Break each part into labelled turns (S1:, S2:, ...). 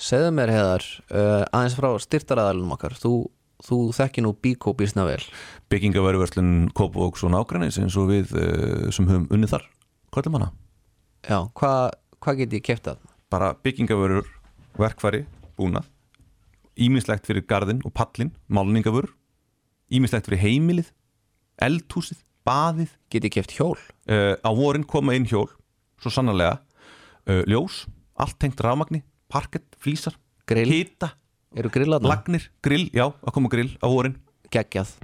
S1: segðu mér heðar uh, aðeins frá styrtaraðalunum okkar þú, þú þekki nú Bíkó býsna vel
S2: Byggingaværuverslun Kópavóks og nágrannis eins og við uh, sem höfum unnið þar Kvöldum hana
S1: já, hvað hva get ég keft að
S2: bara byggingavörur, verkfæri, búnað ímislegt fyrir garðin og pallin, málningavörur ímislegt fyrir heimilið eldhúsið, baðið
S1: get ég keft hjól
S2: uh, á vorin koma inn hjól, svo sannarlega uh, ljós, allt tengt rafmagni parkett, flísar,
S1: Grill.
S2: hita
S1: eru grillarna
S2: lagnir, grill, já, að koma grill á vorin
S1: geggjað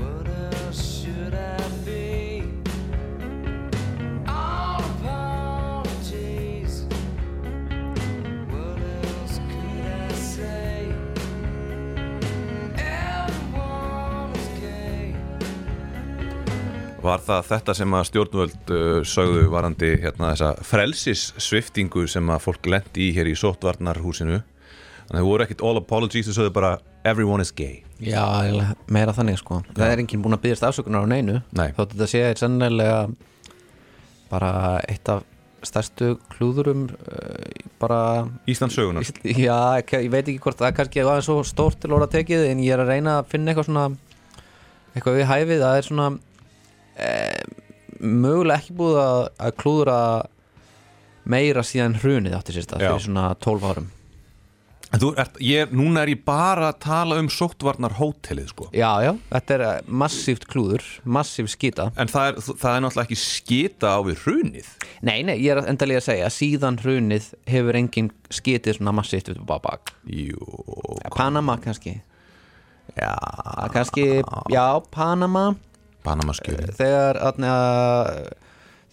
S3: What else should I be? All apologies. What else could I say? Everyone is gay.
S2: Var það þetta sem að stjórnvöld uh, sögðu varandi hérna þessa frelsissviftingu sem að fólk lendi í hér í sóttvarnarhúsinu Þannig að þau voru ekkit all apologies, þau sögðu bara everyone is gay
S1: já, eiginlega meira þannig sko það er enginn búin að byggjast afsökunar á neinu
S2: Nei.
S1: þótt þetta sé sennilega bara eitt af stærstu klúðurum uh, bara
S2: Íslands sögunar
S1: Já, ke- ég veit ekki hvort það er kannski er aðeins svo stórt til orða tekið en ég er að reyna að finna eitthvað svona eitthvað við hæfið, það er svona e, mögulega ekki búið að, að klúðra meira síðan hrunið átti sérst að
S2: Já.
S1: fyrir svona 12 árum
S2: En þú ert, ég, núna er ég bara að tala um sóttvarnarhótelið sko
S1: Já, já, þetta er eh, massíft klúður massíft skýta
S2: En það er, það er náttúrulega ekki skita á við hrunið
S1: Nei, nei, ég er að endalega að segja að síðan hrunið hefur enginn skýtið svona massíft upp á bak
S2: Jú,
S1: Panama kannski
S2: já,
S1: Að kannski, já, Panama
S2: Panamaskjöld
S1: þegar atna,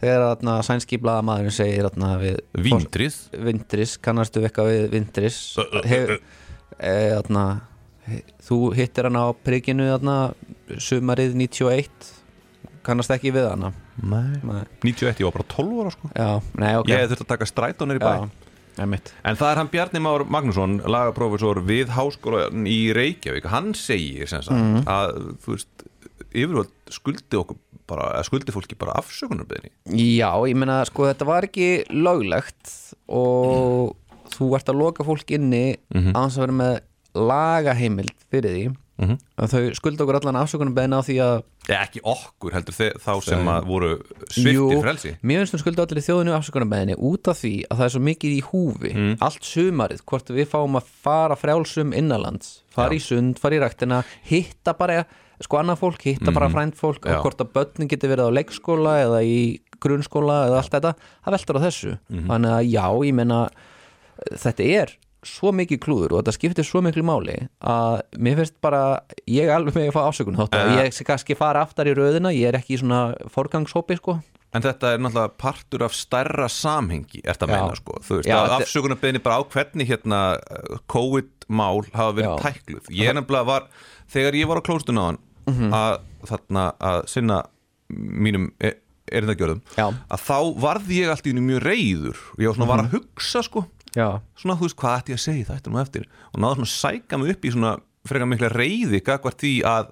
S1: þegar atna, sænski blaðamaðurinn segir atna, við
S2: Vindrið
S1: vindris, kannastu við eitthvað við vindris hef, e, atna, he, þú hittir hann á prikinu atna, sumarið 91 kannast ekki við hana
S2: Nei.
S1: Nei.
S2: 91, ég var bara 12 ára sko
S1: já, nei, ok
S2: Ég þurfti að taka strætónir í bæ
S1: já, einmitt.
S2: En það er hann Bjarni Már Magnússon, lagaprófessor við háskólan í Reykjavík. Hann segir sem sagt að, þú veist, yfirvöld skuldi okkur bara, að skuldi fólki bara afsökunarbeðinni.
S1: já, ég meina sko þetta var ekki löglegt og þú ert að loka fólk inni mm -hmm. að vera með lagaheimild fyrir því
S2: Mhm.
S1: að þau skulda okkur allan afsökunum beðna á því að
S2: Eða ekki okkur, heldur þe þá sem að voru sviftir frelsi.
S1: mér finnst hún skulda allir þjóðinu afsökunarbæðinni út af því að það er svo mikið í húfi
S2: Mm.
S1: allt sumarið, hvort við fáum að fara frjálsum innanlands, fara í sund fara í ræktina, hitta bara sko annað fólk, hitta bara frænd fólk
S2: Mhm. Já.
S1: og hvort að börnin getur verið á leikskóla eða í grunnskóla eða allt þetta það veltur á þessu,
S2: Mhm.
S1: þannig að já ég meina, þetta er svo mikið klúður og þetta skiptir svo miklu máli að mér finnst bara ég alveg með að fá afsökun þátt að ég sé kannski fara aftar í röðina, ég er ekki í svona forgangshópi sko
S2: En þetta er náttúrulega partur af stærra samhengi, er þetta að
S1: Já.
S2: meina sko. Þú veist,
S1: Já,
S2: að
S1: þetta-
S2: afsökunarbeðinni bara á hvernig hérna uh, COVID-mál hafa verið
S1: Já.
S2: tækluð. Ég nefnilega var, þegar ég var á klóstun á hann,
S1: Mhm.
S2: að þarna að sinna mínum e- erindagjörðum,
S1: Já. Mhm.
S2: að þá varð ég allt í henni mjög reyður ég var svona var að hugsa sko
S1: Já,
S2: svona þú veist hvað ætti ég að segja það eftir nú eftir og náða svona að sæka mig upp í svona frekar mikla reyði gagvart því að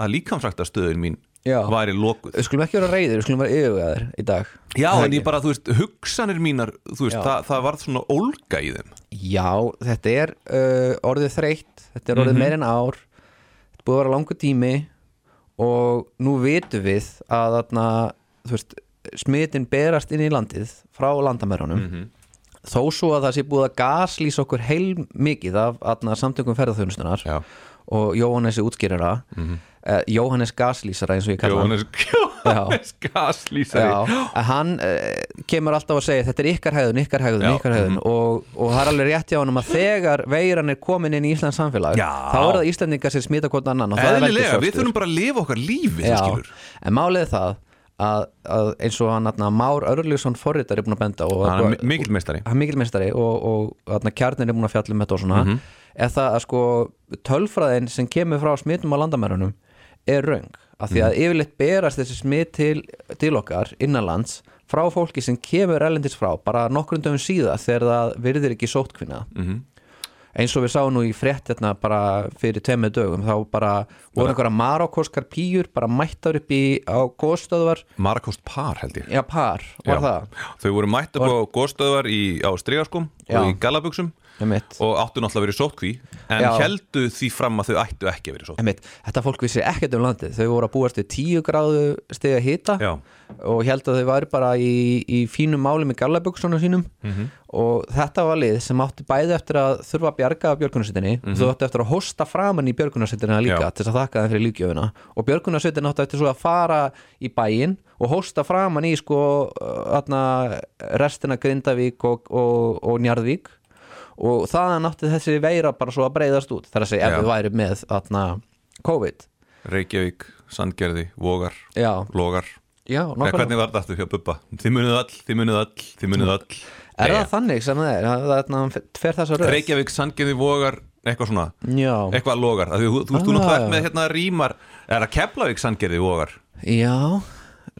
S2: að líkamsræktastöðin mín
S1: Já.
S2: væri lokuð
S1: við skulum ekki vera reyðir, við skulum vera yfirvegaðir í dag
S2: Já,
S1: Það
S2: en ég
S1: ekki?
S2: bara, þú veist, hugsanir mínar þú
S1: Já.
S2: veist, það, það varð svona ólga í þeim
S1: Já, þetta er uh, orðið þreytt, þetta er orðið meir en ár Þetta er búið að vera langur tími og nú vitum við að þarna, þú veist, smitin berast inn í landið frá landamærunum þó svo að það sé búið að gaslýsa okkur heil mikið af atna, samtökum ferðarþjónustunar
S2: Já.
S1: og Jóhannesi útskýrara mm Jóhannes gaslýsara eins og ég kalla hann
S2: Jóhannes, Jóhannes gaslýsari
S1: Já, að hann uh, kemur alltaf að segja þetta er ykkar hegðun, ykkar hegðun,
S2: Já. Mhm.
S1: ykkar hegðun og, og það er alveg rétt hjá honum að þegar veiran er komin inn í Íslands samfélag
S2: Já.
S1: þá er það Íslandingar sem smita hvort annan og það er
S2: Eðlilega, við
S1: veldisvöxtur.
S2: þurfum bara að lifa okkar lífi þú skilur.
S1: Já, en málið er það að, að eins og hann atna, Már Örlíksson forritar er búin að benda og
S2: Hann er mi- mikill meistari
S1: hann er mikill meistari og, og atna, kjarnir er búin að fjalla um þetta og svona
S2: Mhm.
S1: er það að sko tölfræðin sem kemur frá smitum á landamærunum
S2: Mhm.
S1: er röng, af því að yfirleitt berast þessi smit til, til okkar innanlands frá fólki sem kemur erlendis frá bara nokkrum döfum síða þegar það virðir ekki sóttkvinna
S2: Mhm.
S1: eins og við sáum nú í frétt hérna bara fyrir tveimur dögum þá bara voru einhverja marokkoskar píjur bara mættar upp í á góðstöðvar
S2: Markost par held ég
S1: já par, var
S2: Já.
S1: það
S2: Þau voru mætt upp á góðstöðvar í, á strigaskum
S1: Já.
S2: og í galabuxum
S1: Einmitt.
S2: og áttu náttúrulega verið sótkví en
S1: Já.
S2: heldu því fram að þau ættu ekki að verið sótkví
S1: Einmitt, þetta fólk vissi ekkert um landið þau voru að búast við 10 gráðu stiga hita
S2: Já.
S1: og ég held að þau væri bara í, í fínum máli með gallaböksunum sínum
S2: Mhm.
S1: og þetta var lið sem átti bæði eftir að þurfa að bjarga af björgunarsveitinni og þau átti eftir að hosta framan í björgunarsveitina líka
S2: Mhm. Já.
S1: til þess að þakka þeim fyrir líkjöfuna og björgunarsveitin átti eftir svo að fara í bæinn og hosta framan í sko uh, þarna, restina Grindavík og, og, og Njarðvík og þaðan átti þessi veira bara svo að breyðast út þar að segja
S2: Já.
S1: ef við væri með þarna, COVID
S2: Reykjavík, Sandgerði, Vogar,
S1: Já,
S2: Logar
S1: já,
S2: Eða
S1: nákvæmlega
S2: hvernig var þetta aftur hjá Bubba? Þið munið all, þið munið all, þið munið all
S1: Er
S2: Jæja.
S1: það þannig sem það er? Það það er þannig að hann fer- fer þessa röð
S2: Reykjavík, Eh. Sandgerði, Vogar, eitthvað svona
S1: Já,
S2: eitthvað logar, Af því þú, þú, þú, þú
S1: Ah.
S2: náttúrulega ert með hérna rýmar er það Keflavík sangerði vogar
S1: já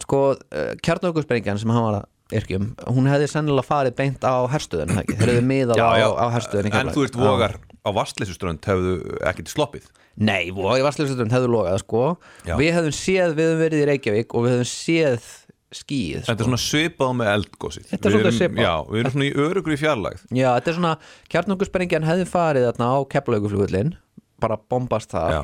S1: Sko, kjarnaukursbrengjan sem hann var að yrkjum Hún hefði sennilega farið beint á herstuðin Þeir hefði miðað á, á herstuðin
S2: en þú veist vogar á vastleysuströnd hefðu ekkert sloppið
S1: Nei, vogi varsleifstöðum hefðu logað, sko
S2: Já.
S1: Við hefðum séð, við hefðum verið í Reykjavík Og við hefðum séð skýð sko.
S2: þetta er svona svipað með eldgósið
S1: Þetta er
S2: Við
S1: svolítið
S2: erum-
S1: svipað.
S2: já, við erum svona í örugri fjarlægð
S1: Já, þetta er svona, kjarnaukursbrengjan hefði farið þarna á keflauguflugullin Bara bombast það
S2: já,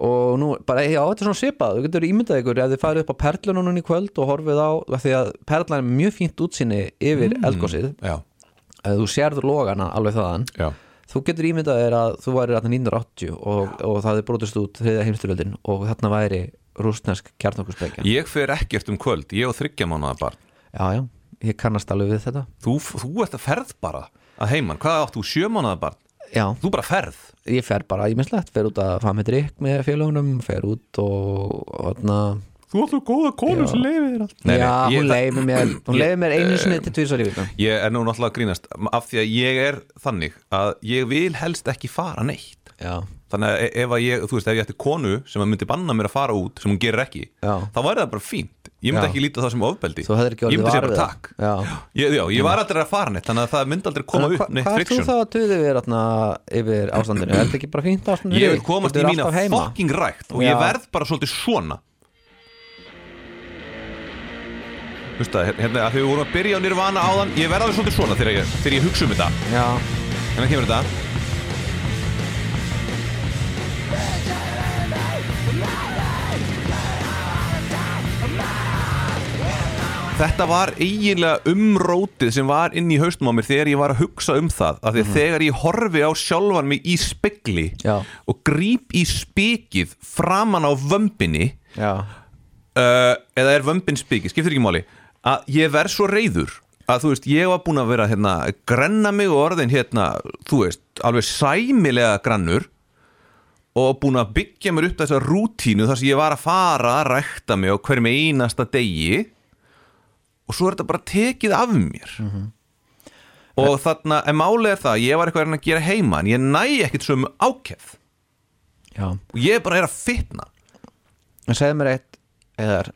S1: og nú, bara, já, þetta er svona svipað þú getur ímyndað ykkur ef þið farið upp á perlunum núna í kvöld og horfið á, af því að perlan er mjög fínt útsinni yfir mm. eldgósið
S2: já,
S1: þú sérður logana alveg þaðan
S2: já,
S1: þú getur ímyndað þér að þú væri þarna 1980 og, og það er brotist út þriða heimsturöldin og þarna væri rústnesk kjarnokursbækja
S2: ég fer ekkert um kvöld ég og þryggja mánuða barn
S1: já, já, ég kannast alveg við þetta
S2: þú, þú ert að ferð bara að heiman, hvað átt þú sjö mánuða barn
S1: já,
S2: þú bara ferð
S1: ég fer bara ímislegt fer út að fara með drikk með félagunum fer út og, og þarna,
S2: þú átt þú góða konu sem leiði þér allt Nei, nei,
S1: já,
S2: ég-
S1: hún
S2: það-
S1: leiði mér hún
S2: Ég-
S1: leiði mér einu sinni til tvisar í vikum
S2: Ég er nú náttúrulega að grínast af því að ég er þannig að ég vil helst ekki fara neitt
S1: já,
S2: þannig að e- ef að ég, þú veist, ef ég ætti konu sem að myndi banna mér að fara út sem hún gerir ekki
S1: Já.
S2: þá væri það bara fínt ég myndi
S1: Já.
S2: ekki líta það sem ofbeldi
S1: Þú hefðir ekki
S2: ég
S1: orðið
S2: myndi
S1: var
S2: segja bara
S1: við það.
S2: takk
S1: Já.
S2: ég, já, ég var aldrei að fara neitt þannig að það myndi aldrei koma
S1: Hva-
S2: upp neitt
S1: Hvað ert þú
S2: friksjón
S1: þá að tuða yfir, atna, yfir ástandinu? Er þetta ekki bara fínt ástandinu?
S2: ég vil komast í
S1: Getur
S2: mína
S1: alltaf heima.
S2: fucking rækt og
S1: Já.
S2: ég verð bara svolítið svona Þú veist það, hér- hérna að því við vorum að byrja á nirvana áðan ég verð alveg svolítið svona þegar ég, þegar ég hugsa um þetta
S1: Já,
S2: Hérna kemur þetta Þetta var eiginlega umrótið sem var inn í haustum á mér þegar ég var að hugsa um það af því að þegar ég horfi á sjálfan mig í spegli
S1: Já.
S2: og gríp í spekið framan á vömbinni
S1: já,
S2: uh, eða er vömbin spiki, skiptir ekki máli að ég verð svo reyður að þú veist, ég var búin að vera hérna grenna mig og orðin hérna, þú veist alveg sæmilega grannur og búin að byggja mér upp þessa rútínu þar sem ég var að fara að rækta mig á hverjum einasta degi og svo er þetta bara tekið af mér og þarna, en málið er það ég var eitthvað að reyna að gera heima en ég næ ekkert sömu ákef
S1: já.
S2: og ég bara er að fitna
S1: En segðu mér eitt, eðar,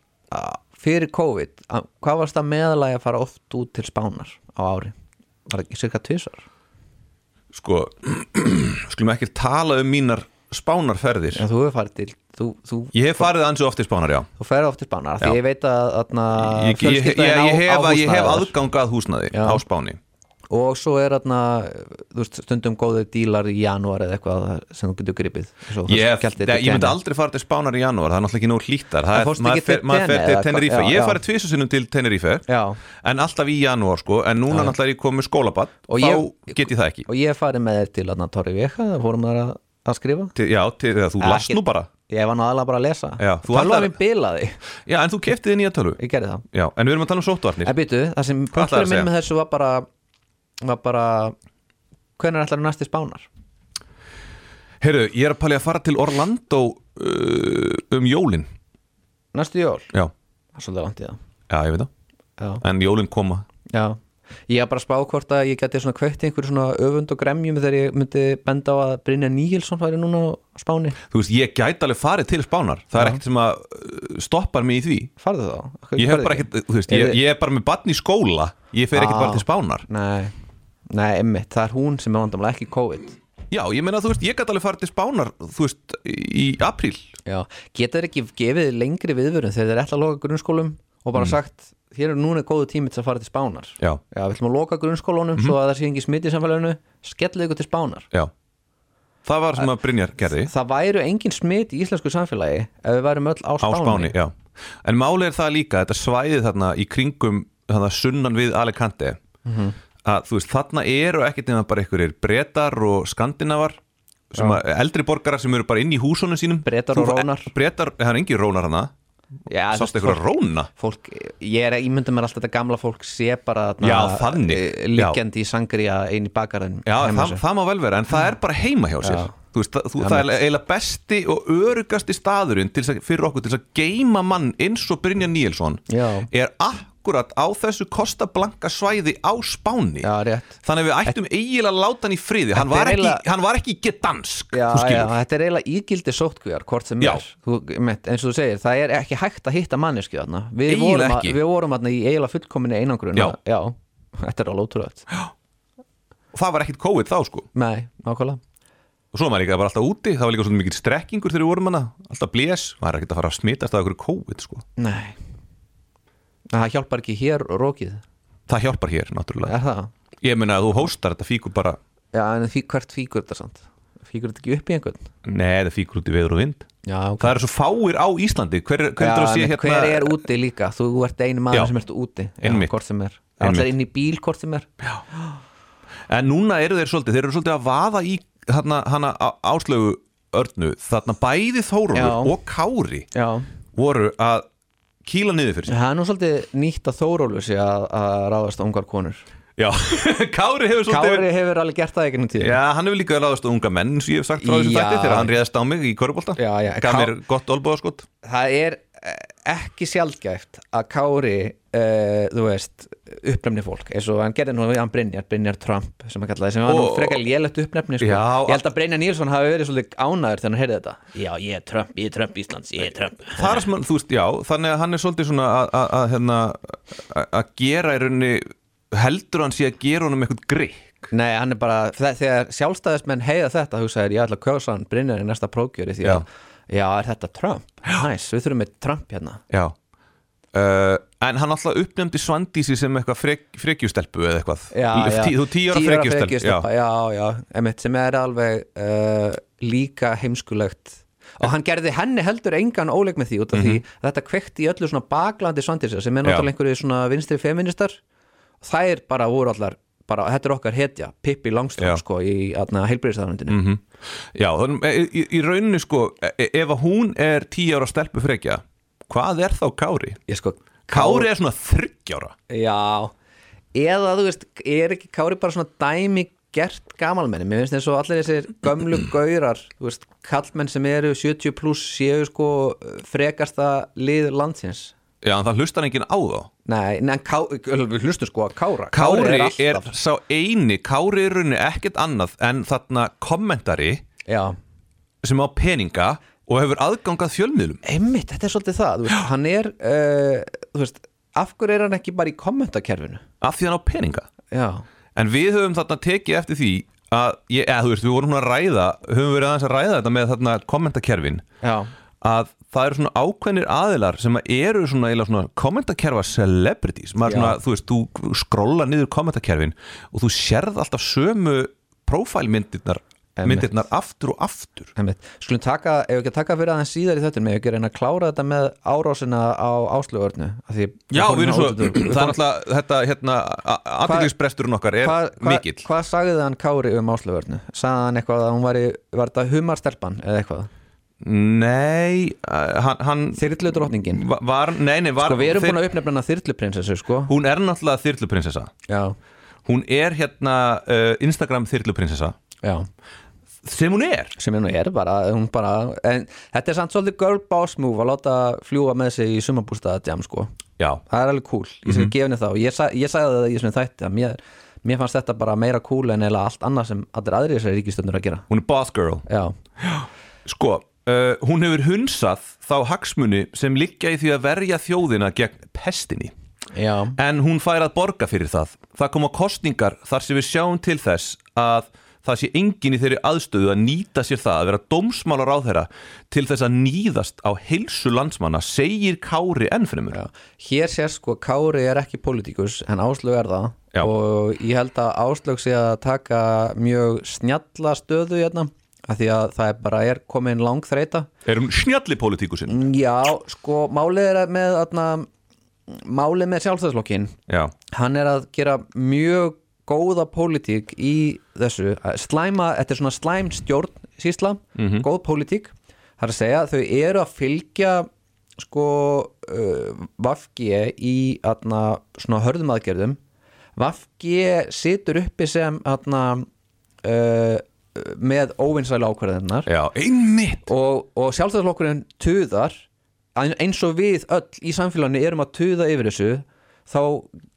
S1: fyrir COVID, að, hvað varst það meðalagi að fara oft út til Spánar á ári? Var það ekki cirka tvisar?
S2: sko, skulum ekki tala um mínar spánarferðir
S1: Já, þú hefur farið til, þú, þú,
S2: ég hef farið ansi oft í spánar, já
S1: þú ferði oft til Spánar, af því
S2: Já.
S1: ég veit að atna,
S2: ég, ég, ég, ég, ég, hef, ég hef aðgang að húsnaði
S1: Já.
S2: á Spáni
S1: Og svo er atna, þú veist, stundum góðið dílar í janúar eða eitthvað sem þú getur gripið Svo þú
S2: ég, hef-
S1: skelltir til
S2: ég myndi
S1: Kenya.
S2: aldrei fara til Spánar í janúar það er náttúrulega ekki nóg hlítar það
S1: En
S2: er,
S1: fórstu
S2: maður
S1: ekki
S2: fer,
S1: til
S2: maður
S1: Tenerife
S2: fer til
S1: eða
S2: Tenerife
S1: hvað? Já,
S2: ég
S1: já.
S2: hef farið tvísasunum til Tenerife
S1: Já.
S2: en alltaf í janúar sko en núna náttúrulega er ég komið skólabatt
S1: Og
S2: þá
S1: ég-
S2: get ég það ekki
S1: og ég hef farið með þér til að Torri Veka það fórum þar að, að skrifa
S2: til, já, til, eða, þú last
S1: Ekki-
S2: nú bara
S1: ég var náðalega bara að lesa
S2: Já, þú
S1: talaðu
S2: ætlar-
S1: mér bilaði,
S2: já, en þú keftið nýja tölvu
S1: ég gerði það
S2: já, en við erum að tala um sóttvarnir
S1: en býtu, það sem
S2: ætlarðu að
S1: punkturinn
S2: segja?
S1: minn með þessu var bara var bara hvernig ætlar næsti spánar
S2: heyrðu, ég er að palja að fara til Orlando uh, um jólin
S1: næstu jól,
S2: já,
S1: það er svolítið langt í það
S2: já, ég veit það
S1: já,
S2: en jólinn koma
S1: já, Ég var bara að spá hvort að ég geti svona kveikt einhverju svona öfund og gremjum þegar ég myndi benda á að Brynja Níelsson væri núna á spáni
S2: Þú veist, ég gæti alveg farið til spánar Það er ekkert sem að uh, stoppar mig í því
S1: Farðu þá?
S2: Ég hef bara ekkert, þú veist,
S1: Er
S2: ég,
S1: þið-
S2: ég er bara með barn í skóla Ég fer ekkert
S1: Ah.
S2: bara til spánar
S1: Nei, nei, emmitt, það er hún sem er vandamlega ekki COVID
S2: Já, ég meina, þú veist, ég gæti alveg farið til spánar Þú veist, í apríl
S1: Já, geta þeir ekki gefið lengri viðvörun þegar þeir ætla að loka grunnskólum og bara sagt, hér er núna góðu tími til að fara til spánar
S2: Mm. Já, Mhm.
S1: Já, við ætlum að loka grunnskólanum svo að það sé engi smitt í samfélaginu skellið ykkur til spánar
S2: já Það var sem að Brynjar gerði
S1: Það væru engin smitt í íslensku samfélagi ef við værum öll á
S2: á
S1: spáni,
S2: Spáni já. En máli er það líka, þetta svæði þarna í kringum þarna sunnan við Alicante
S1: Mhm.
S2: að þú veist, þarna eru ekkert nema bara einhverjir bretar og skandinavar sem að, eldri borgarar sem eru bara inn í húsunum sínum
S1: Bretar og
S2: Þú-
S1: rónar.
S2: Bretar, það er engin rónar hana
S1: Já, þú
S2: Sást
S1: veist,
S2: einhverja róna
S1: fólk, ég er að ímynda mér alltaf þetta gamla fólk sé bara þarna,
S2: Já, þannig,
S1: eh, liggjandi í sangri inn í bakarinn
S2: Já,
S1: heima hjá
S2: það,
S1: sér.
S2: það má vel vera, en það er bara heima hjá sér
S1: Já.
S2: Þú veist, það, þú, það er eiginlega besti og örugasti staðurinn til þess að, fyrir okkur til þess að geima mann eins og Brynja Níelsson
S1: Já.
S2: er akkurat á þessu kostablanka svæði á Spáni
S1: Já, rétt
S2: Þannig að við ættum eiginlega að láta hann í friði
S1: Þetta er
S2: Hann var ekki,
S1: eiginlega-
S2: hann var ekki gedansk
S1: Já,
S2: þú skilur.
S1: já, þetta er eiginlega ígildi sótkvíjar hvort sem
S2: Já.
S1: er, þú, mitt, eins og þú segir það er ekki hægt að hitta manneski þarna við
S2: Eiginlega
S1: vorum, að,
S2: ekki.
S1: við vorum að, í eiginlega fullkominni einangrun
S2: Já.
S1: já, þetta er alveg ótrúlegt
S2: Og Það var ekkit COVID þá sko
S1: Nei, nákvæmlega
S2: Og svo var maður líka bara alltaf úti, það var líka svona mikið strekkingur þegar við vorum hana Alltaf blés, maður er ekkit að fara að smitast af einhverju COVID sko
S1: Nei Það hjálpar ekki hér og rókið
S2: Það hjálpar hér, náttúrulega
S1: Er það?
S2: Ég meina að þú hóstar, þetta fíkur bara
S1: Já, en fí, hvert fíkur þetta samt? Fíkur þetta ekki upp í einhvern?
S2: Nei, það fíkur út í veður og vind
S1: Já, ok
S2: Það eru svo fáir á Íslandi Hver, hver,
S1: Já,
S2: já, sé,
S1: en
S2: hérna,
S1: hver er úti líka? Þú ert einu maður
S2: Já.
S1: sem ert úti Já,
S2: Einmitt.
S1: hvort sem er
S2: Einmitt.
S1: Allar inn í bíl hvort sem er
S2: En núna eru þeir svolítið, þeir eru svolítið að vaða í hana, hana á- áslögu örnu Þarna bæði Þórólfur
S1: Já.
S2: og Kári
S1: Já
S2: voru að kýla niður fyrir sig
S1: Það er nú svolítið nýtt að Þórólfur sé að, að ráðast á ungar konur
S2: Já, Kári hefur svolítið
S1: Kári hefur alveg gert það ekki nú tíð
S2: Já, hann hefur líka ráðast á unga menn sem ég hef sagt frá þessu
S1: Já.
S2: þætti þegar hann réðast á mig í Körbólta
S1: Já, já,
S2: Gaf
S1: Ká-
S2: mér gott olbúðaskot
S1: Það er eh, ekki sjálfgæft að Kári uh, þú veist, uppnefni fólk eins og hann gerði nú hann Brynjar, Brynjar Trump sem hann kallaði, sem var nú
S2: Og-
S1: frekar lélegt uppnefni sko.
S2: Já,
S1: ég held að Brynjar Nílsson hafi verið svolítið ánæður þegar hann heyrði þetta Já, ég er Trump, ég er Trump Íslands, ég er Trump
S2: Það er sem hann, þú veist, já, þannig að hann er svolítið svona að- að- að hérna, að- að gera í rauninni heldur hann sé að gera honum eitthvað grikk
S1: Nei, hann er bara, þe- þegar sjálfstæðismenn heiða þetta, hugsaðir, ég ætla að kjósa hann Brynjar í næsta prókjöri því að, já, er þetta Trump? Næs, við þurfum með Trump hérna
S2: Já Uh, en hann alltaf uppnefndi Svandísi sem eitthvað frek, frekjustelpu eða eitthvað
S1: já, já.
S2: Tí, þú tíu ára frekjustelpu
S1: frekjustelpa,
S2: já.
S1: já, já, emitt, sem er alveg uh, líka heimskulegt og hann gerði henni heldur engan óleik með því út af
S2: Mhm.
S1: því þetta kvekti í öllu svona baklandi svandisar sem er náttúrulega einhverju svona vinstri feministar þær bara voru allar bara, þetta er okkar hetja, Pippi
S2: Já.
S1: Langström sko í heilbriðstafnundinu mm.
S2: Mhm. já þannig, e- í, í rauninni sko e- e- ef að hún er tíu ára stelpu frekja hvað er þá Kári?
S1: ég sko,
S2: Kári er svona 30 ára
S1: já eða þú veist, er ekki Kári bara svona dæmi gert gamalmenni, mér finnst eins og allir þessir gömlu gaurar, þú veist, kallmenn sem eru 70 pluss séu sko frekasta lið landsins
S2: Já, en það hlustar enginn á þá
S1: Nei, nei, en Ká, við hlustum sko að Kára
S2: Kári er,
S1: alltaf
S2: sá eini Kári er í rauninni ekkert annað en þarna kommentari
S1: Já,
S2: sem á peninga og hefur aðgangað fjölmiðlum
S1: einmitt, þetta er svolítið það þú veist, hann er, uh, þú veist af hverju er hann ekki bara í kommentakerfinu
S2: af því hann á peninga
S1: Já,
S2: En við höfum þarna tekið eftir því að, ég, eða þú veist, við vorum svona að ræða höfum verið aðeins að ræða þetta með þarna kommentakerfin
S1: já,
S2: að það eru svona ákveðnir aðilar sem að eru svona, eiginlega svona kommentakerfa celebrities, maður
S1: Já.
S2: svona, þú veist, þú skrolla niður kommentakerfin og þú sérð alltaf sömu prófælmyndirnar
S1: Einmitt.
S2: myndirnar aftur og aftur
S1: einmitt Skulum taka, ef við ekki að taka fyrir aðeins síðar í þöttunum ef við ekki að reyna að klára þetta með árásina á áslögurnu
S2: Já, við erum svo, það er alltaf þetta, hérna, aðeinsbresturinn okkar er
S1: hvað, hvað,
S2: mikill
S1: hvað sagði hann Kári um áslögurnu? Sagði hann eitthvað að hún var, var þetta humarstelpan eða eitthvað?
S2: Nei, eh, hann, hann
S1: Þyrlu drottningin
S2: va- var, nei, nei, var
S1: Sko, við erum
S2: þeir-
S1: búin að uppnefna hana þyrlu prinsessu, sko
S2: Hún er náttúrulega þyrluprinsessa
S1: Já,
S2: Hún er hérna uh, Instagram þyrluprinsessa
S1: já,
S2: sem hún er
S1: sem hún er bara, hún bara en þetta er samt svolítið girl boss move að láta fljúa með sig í sumabústaða jam sko,
S2: Já,
S1: það er alveg cool ég skal gefa henni þá, ég, sa, ég sagði það í þessum þætti að mér, mér fannst þetta bara meira cool en eða allt annað sem allir aðrir þessari ríkistöndur að gera
S2: hún er boss girl
S1: já,
S2: Sko, uh, hún hefur hunsað þá hagsmuni sem liggja í því að verja þjóðina gegn pestinni
S1: já,
S2: En hún fær að borga fyrir það Það koma kostningar þar sem við sjáum til þess að það sé engin í þeirri aðstöðu að nýta sér það að vera dómsmálar á þeirra til þess að nýðast á heilsu landsmanna segir Kári ennfremur
S1: já. hér sér sko Kári er ekki politikus en Áslaug er það
S2: Já.
S1: og ég held að Áslaug sé að taka mjög snjalla stöðu hérna, af því að það er bara er komin lang þreita
S2: Er hún snjalli pólitíkusinn?
S1: Já, sko, málið er að með atna, málið með sjálfstæðslokkin
S2: Já,
S1: hann er að gera mjög góða pólitík í þessu slæma, þetta er svona slæm stjórn sísla, góð pólitík það er að segja að þau eru að fylgja sko uh, Vafgje í atna, svona hörðum aðgerðum Vafgje situr uppi sem atna, uh, með óvinsæla ákvarðinnar
S2: já, einmitt
S1: og, og sjálfstæðslokkurinn tuðar en- eins og við öll í samfélaginu erum að tuða yfir þessu þá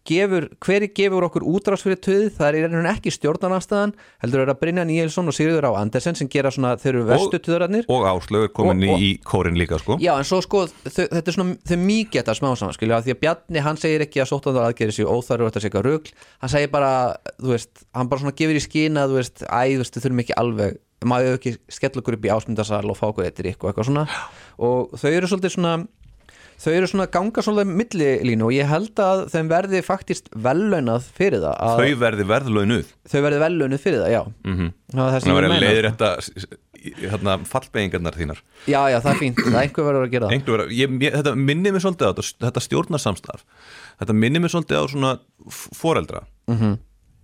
S1: gefur, hveri gefur okkur útrás fyrir tuðið, það er í rauninni ekki stjórnarnastæðan, heldur er að Brynja Níelsson og Sigurður á Andersen sem gera svona þeir eru verstu tuðararnir
S2: Og Áslaug er komin
S1: Og- og-
S2: í kórin líka sko
S1: Já, en svo sko, þau, þetta er svona þau mikið þetta smá saman, skilja, því að Bjarni hann segir ekki að sóttandar aðgerði sér óþarur og þetta sé eitthvað rugl, hann segir bara, þú veist hann bara svona gefur í skina, þú veist æ, þú veist, þau þurfum ekki alveg, maður hefur ekki skella okkur upp í ásmyndasal og fá okkur eittir ykkur og eitthvað svona, og þau eru svolítið svona þau eru svona ganga svolítið millilínu og ég held að þeim verði faktist vellaunað fyrir það, að
S2: Þau verði verðlaunuð
S1: þau verði vellaunað fyrir það, já mm -hmm. það er það sem
S2: Þannig
S1: ég
S2: að vera
S1: meina,
S2: leiðir
S1: sko.
S2: þetta hérna, fallbeigingarnar þínar
S1: já, já, það er fínt, það er einhver verður að gera það
S2: Einhver vera, ég, ég, Þetta minnir mér svolítið á þetta, þetta stjórnarsamstarf Þetta minnir mér svolítið á svona f- foreldra
S1: Mhm.
S2: -hmm.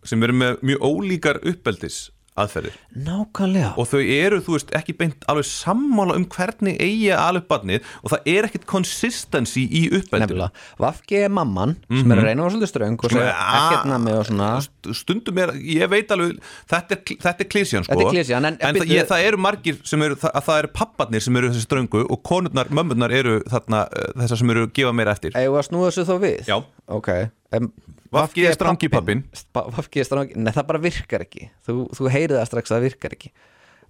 S2: sem eru með mjög ólíkar uppeldis aðferðir
S1: nákvæmlega,
S2: og þau eru, þú veist, ekki beint alveg sammála um hvernig eigi að alveg barnið og það er ekkit konsistensi í uppeldinu
S1: Nefnilega, Vafki er mamman sem er að reyna að vera svolítið ströng og
S2: Mhm. Sem er- Ah.
S1: segja ekkert nami og svona
S2: St- stundum er, ég veit alveg þetta er, kl- þetta er klísjan sko
S1: Þetta er klisjan, en-
S2: það,
S1: bíddu-
S2: ég, það eru margir sem eru, það, það eru papparnir sem eru þessi ströngu og konurnar, mömmurnar eru þarna, eh, þessar sem eru að gefa meira eftir
S1: Eða að snúa þessu þá við?
S2: Já.
S1: Ok um,
S2: Vafki er strangi pappin
S1: Vafki er strangi, nei það bara virkar ekki Þú, þú heyrið það strax að það virkar ekki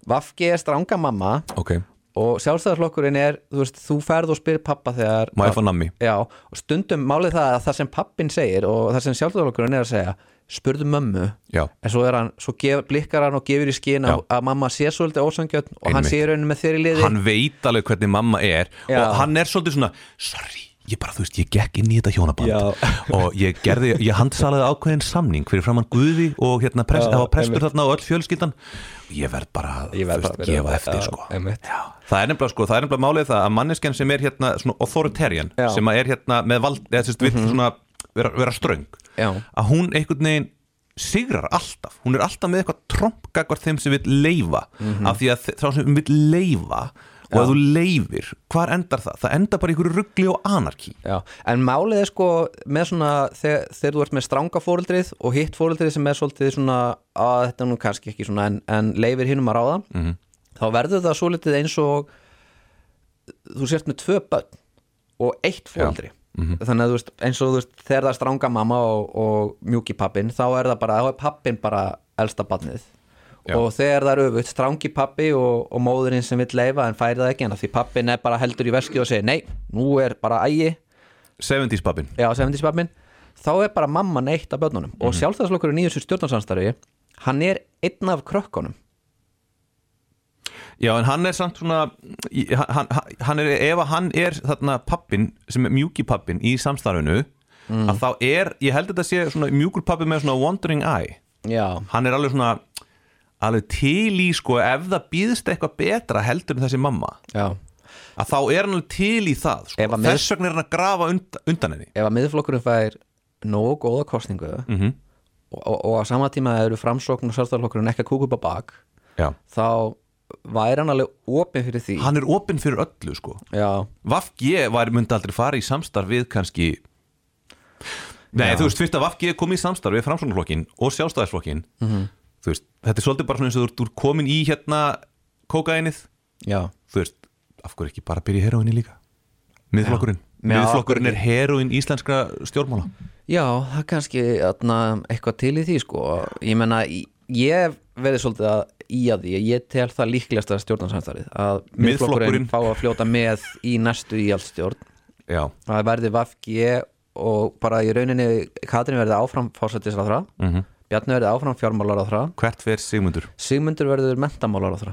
S1: Vafki er stranga mamma
S2: ok,
S1: og sjálfstæðarflokkurinn er, þú veist, þú ferð og spyr pappa þegar
S2: Má ég fá nammi?
S1: Já, og stundum málið það að það sem pappin segir og það sem sjálfstæðarflokkurinn er að segja spurðu mömmu
S2: já
S1: en svo er hann, svo gef, blikkar hann og gefur í skinn
S2: Já.
S1: að að mamma sé svolítið ósangjötn og hann
S2: Einmitt.
S1: sé í rauninu með þeirri liði
S2: hann veit alveg hvernig mamma er
S1: Já.
S2: og hann er svolítið svona sorry, ég bara, þú veist, ég gekk inn í þetta hjónaband
S1: Já.
S2: og ég gerði, ég handsalaði ákveðin samning fyrir framann Guði og hérna prest,
S1: Já,
S2: það var prestur
S1: einmitt.
S2: þarna og öll fjölskyldan ég verð bara, að,
S1: Ég verð
S2: þú veist,
S1: bara að vera-
S2: gefa eftir
S1: já,
S2: sko
S1: einmitt.
S2: Já. það er nefnilega sko, það er nefnilega málið það að manneskjan sem er hérna svona authoritarian
S1: Já. Mhm.
S2: sem að er hérna með vald, eða sérst, vill svona vera, vera ströng
S1: Já.
S2: að hún einhvern veginn sigrar alltaf, hún er alltaf með eitthvað trompgagvar þeim sem vil leifa af því að þe- þá sem vil leifa og að þú leifir, hvar endar það? Það endar bara í einhverju ruggli og anarki
S1: Já, en málið er sko með svona þegar, þegar þú ert með stranga fóreldrið og hitt fóreldrið sem er svolítið svona að þetta er nú kannski ekki svona en, en leifir hinnum að ráða -hmm. þá verður það svolítið eins og þú sért með tvö börn og eitt fóreldri þannig að þú veist eins og þú veist þegar það er stranga mamma og, og mjúki pappin þá er það bara, þá er pappin bara elsta barnið
S2: Já.
S1: og þegar það er öfugt strangi pappi og, og móðurinn sem vill leifa en færi það ekki en að því pappin er bara heldur í veskið og segir nei, nú er bara ægi
S2: 70s pappin
S1: já, 70s pappin þá er bara mamman eitt af börnunum og sjálfstæðslokkurinn í þessu stjórnarsamstarfi hann er einn af krökkunum
S2: Já, en hann er samt svona í- hann, hann- hann er, ef að hann er þarna pappin, sem er mjúki pappin í samstarfinu, að þá er ég held að þetta sé svona mjúkur pappi með svona wandering eye
S1: já,
S2: hann er alveg svona alveg til í sko ef það býðst eitthvað betra heldur en þessi mamma
S1: já
S2: að þá er hann alveg til í það sko.
S1: Ef að
S2: þess vegna er hann að grafa undan, undan henni
S1: ef að miðflokkurinn fær nógu góða kostningu
S2: Mhm.
S1: og, og, og á sama tíma eru framsókn og sjálfstæðslokkurinn ekki að kúka upp á bak
S2: já.
S1: þá væri hann alveg opið fyrir því
S2: hann er opinn fyrir öllu sko.
S1: já,
S2: Vafg var myndi aldrei fara í samstarf við kannski
S1: Mhm.
S2: nei þú veist fyrst að Vafg kom í samstarf við framsóknarflokkin og sjálfstæðisflokkin þú veist, þetta er svolítið bara svona eins og þú ert- þú ert komin í hérna kókainið,
S1: já,
S2: þú veist af hverju ekki bara byrja í heroinni líka miðflokkurinn,
S1: Já. Já,
S2: miðflokkurinn
S1: af
S2: er heroin íslenskra stjórnmála
S1: já, það er kannski atna, eitthvað til í því sko ég menna, ég hef verið svolítið að í að því, ég tel það líklegasta stjórnarsamstarið að miðflokkurinn
S2: Miðflokkurinn.
S1: fá að fljóta með í næstu í allstjórn
S2: já,
S1: að það verði Vafg og bara í rauninni Katrin verði áfram fórsættisráðra
S2: Mhm.
S1: Bjarni verði áfram fjármálaráðra
S2: hvert fer Sigmundur
S1: Sigmundur verður mentamálaráðra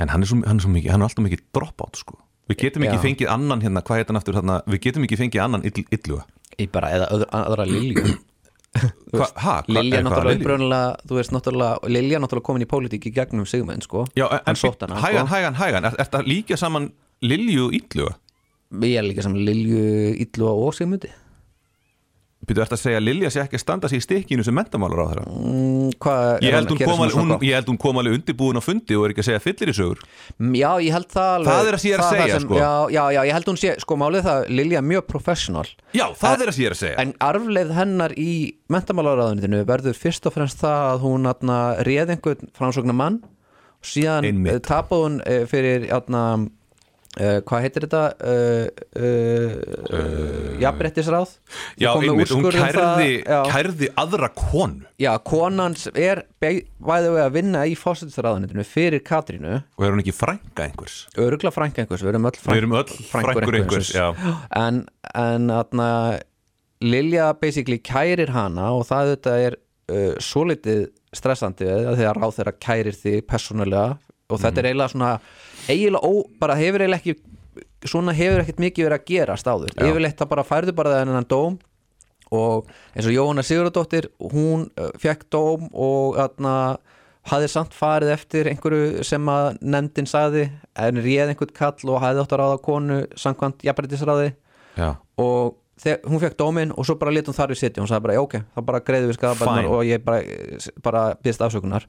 S2: en hann er svo, hann er svo mikið, hann er alltaf mikið dropout sko, við getum ekki
S1: Já.
S2: fengið annan hérna, hvað heitir hann aftur þarna, við getum ekki fengið annan ill, illuga,
S1: í bara eða öðra, aðra Lilju
S2: Hva, ha, hva,
S1: Lilja
S2: er hvað,
S1: náttúrulega
S2: Lilja?
S1: uppröðanlega þú veist náttúrulega Lilja náttúrulega komin í pólitík í gegnum Sigmund sko
S2: Já, en, en
S1: hann sótt hana
S2: hægan,
S1: sko.
S2: hægan, hægan, er, er þetta líka saman Lilju og Illuga?
S1: ég er líka sem Lilju Illu og Sigmundi
S2: Býtu, ert að segja að Lilja sé ekki að standa sig í stikkinu sem mentamálar á þeirra?
S1: mm, hvað er
S2: Ég
S1: hann
S2: held,
S1: að
S2: hún
S1: gera
S2: kom
S1: sem
S2: alveg,
S1: svona
S2: hún,
S1: gott?
S2: ég held hún kom alveg undirbúin á fundi og er ekki að segja fyllir í sögur
S1: Mm, já ég held það alveg
S2: Það er að sé að
S1: það
S2: segja,
S1: sem,
S2: sko.
S1: já, já já ég held hún sé sko málið það Lilja er mjög professional
S2: Já, það er að sé ég er að segja
S1: En arfleið hennar í mentamálaráðunitinu verður fyrst og fremst það að hún atna, réð einhvern framsóknar mann og síðan
S2: Einmitt.
S1: eh, tapaði hún eh, fyrir atna, uh, hvað heitir þetta uh, uh, uh, jafnbrettisráð
S2: Eh. Já, einmitt, hún kærði,
S1: um já.
S2: kærði aðra konu
S1: já, konans er væðið við að vinna í fósitisráðunitinu fyrir Katrínu
S2: og er hún ekki frænka einhvers
S1: örugla frænka einhvers, við erum öll, frænk,
S2: Við erum öll frænkur einhvers, já.
S1: en, en atna, Lilja basically kærir hana og það þetta er uh, svolítið stressandi að því að ráð þeirra kærir þig persónulega og þetta
S2: Mhm.
S1: er eiginlega svona eiginlega ó, bara hefur eiginlega ekki svona hefur ekkert mikið verið að gerast áður yfirleitt það bara færðu bara þennan dóm og eins og Jóhanna Sigurðardóttir hún uh, fekk dóm og atna, hafði samt farið eftir einhverju sem að nefndin sagði en réð einhvern kall og hafði átt að ráða konu samkvæmt jafnbæriðisráði
S2: Já,
S1: og þegar hún fekk dóminn og svo bara létt hún þar við sitja hún sagði bara "Já, ok, þá bara greiðum við skadabarnar
S2: Fine.
S1: og ég bara, bara byrðist afsökunar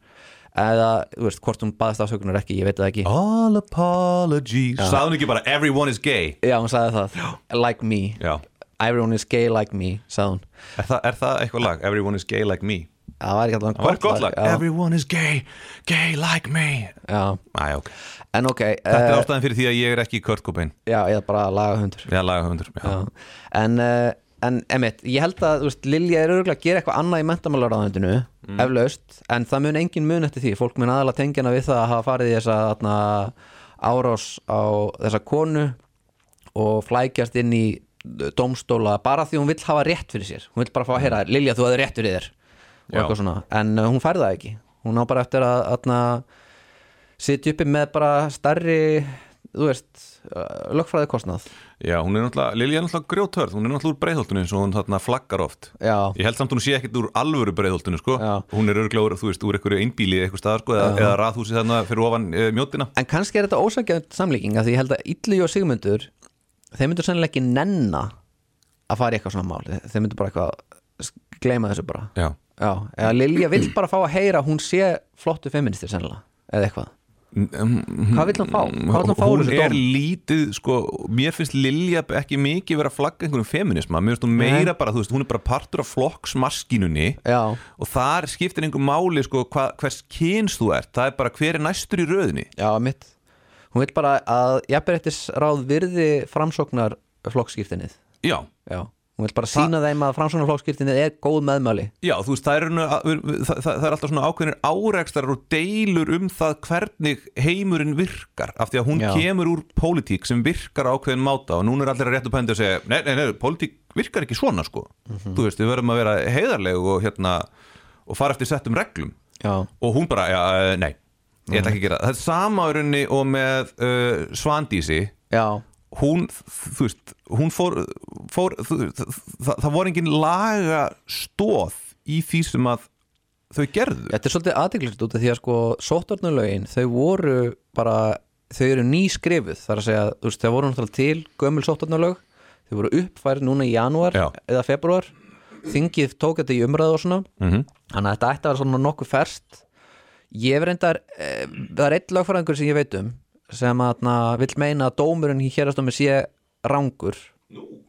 S1: eða, þú veist, hvort hún baðist afsökunar ekki, ég veit það ekki
S2: all apologies Sað hún ekki bara everyone is gay
S1: Já, hún sagði það, like me
S2: Já,
S1: Everyone is gay like me, sagði hún
S2: er, það- er það eitthvað lag? Everyone is gay like me
S1: Það var ekki alltaf
S2: Það var gott lag,
S1: já,
S2: everyone is gay, gay like me
S1: já.
S2: Æ, ok
S1: En ok,
S2: Þetta er
S1: eh,
S2: ástæðan fyrir því að ég er ekki Kurt Cobain
S1: já, eða bara lagahundur
S2: eða lagahöfundur já.
S1: Já. en, uh, en emitt, ég held að þú veist, Lilja er örgulega að gera eitthvað annað í mentamálaráðendinu eflaust, en það mun engin mun eftir því, fólk mun aðalega tengjana við það að hafa farið í þessa þarna, árás á þessa konu og flækjast inn í dómstóla bara því hún vill hafa rétt fyrir sér hún vill bara fá að heyra, Lilja þú hafði rétt fyrir þér og
S2: Já.
S1: eitthvað svona, en uh, hún fær það ekki hún á bara eftir að atna, sitja uppi með bara starri þú veist, eh, lögfræði kostnað
S2: já, hún er náttúrulega, Lilja er náttúrulega grjóthörð hún er náttúrulega úr breiðholtunni eins og hún þarna flaggar oft
S1: Já.
S2: ég held samt hún sé ekkert úr alvöru breiðholtunni sko.
S1: Já.
S2: hún er örglega úr, þú veist, úr einhverju einbíli eitthvað staðar, sko, eða, eða raðhúsi þarna fyrir ofan e, mjótina
S1: En kannski er þetta ósækjönd samlíking af því ég held að Illu og Sigmundur þeir myndur sennilega ekki nenna að fara í eitthvað svona máli þeir myndur bara eitthvað sk- gleyma þessu bara
S2: já,
S1: Já, eða Lilja vill bara fá að heyra að hún sé flottu feministir sennilega eða eitthvað Hvað vill hann fá? Hvað vill hann fá úr
S2: Mm, hún
S1: þessu
S2: er
S1: dóm?
S2: lítið sko, mér finnst Lilja ekki mikið vera að flagga einhverjum feminisma, mér finnst hún meira bara, þú veist, hún er bara partur af flokksmaskinunni
S1: Já,
S2: og þar skiptir einhver máli sko, hva, hvers kyns þú ert, það er bara hver er næstur í röðinni
S1: já, mitt Hún vill bara að jafnbærettisráð virði framsóknar flokkskýrtinnið
S2: já,
S1: Já, hún vill bara sína þeim að framsóknar flokkskýrtinnið er góð meðmæli
S2: Já, þú veist, það er, það, það, það er alltaf svona ákveðnir árekstrar og deilur um það hvernig heimurinn virkar af því að hún
S1: Já.
S2: kemur úr pólitík sem virkar á ákveðin máta og núna er allir að réttu pændi að segja nei, nei, nei, pólitík virkar ekki svona sko þú veist, við verðum að vera heiðarleg og hérna, og fara eftir settum reglum
S1: Já,
S2: og hún bara, já, eh, nei ég ætla ekki að gera það, það er sama í rauninni og með uh, Svandísi
S1: já,
S2: hún, þú veist, hún fór, fór þú, það, það, það voru engin laga stóð í því sem að þau gerðu.
S1: Þetta er svolítið aðeglert út af því að sko sóttvarnalögin, þau voru bara, þau eru nýskrifuð þar að segja, þú veist, þau voru náttúrulega til gömul sóttvarnalög, þau voru uppfærið núna í janúar
S2: Já.
S1: eða februar þingið tók þetta í umræðu og svona
S2: Mhm.
S1: þannig að þetta ætti að vera svona nokkuð ferst ég hef reyndar eh, það er eitt lagfræðingur sem ég veit um sem að na, vill meina að dómurinn hérastómi sé rangur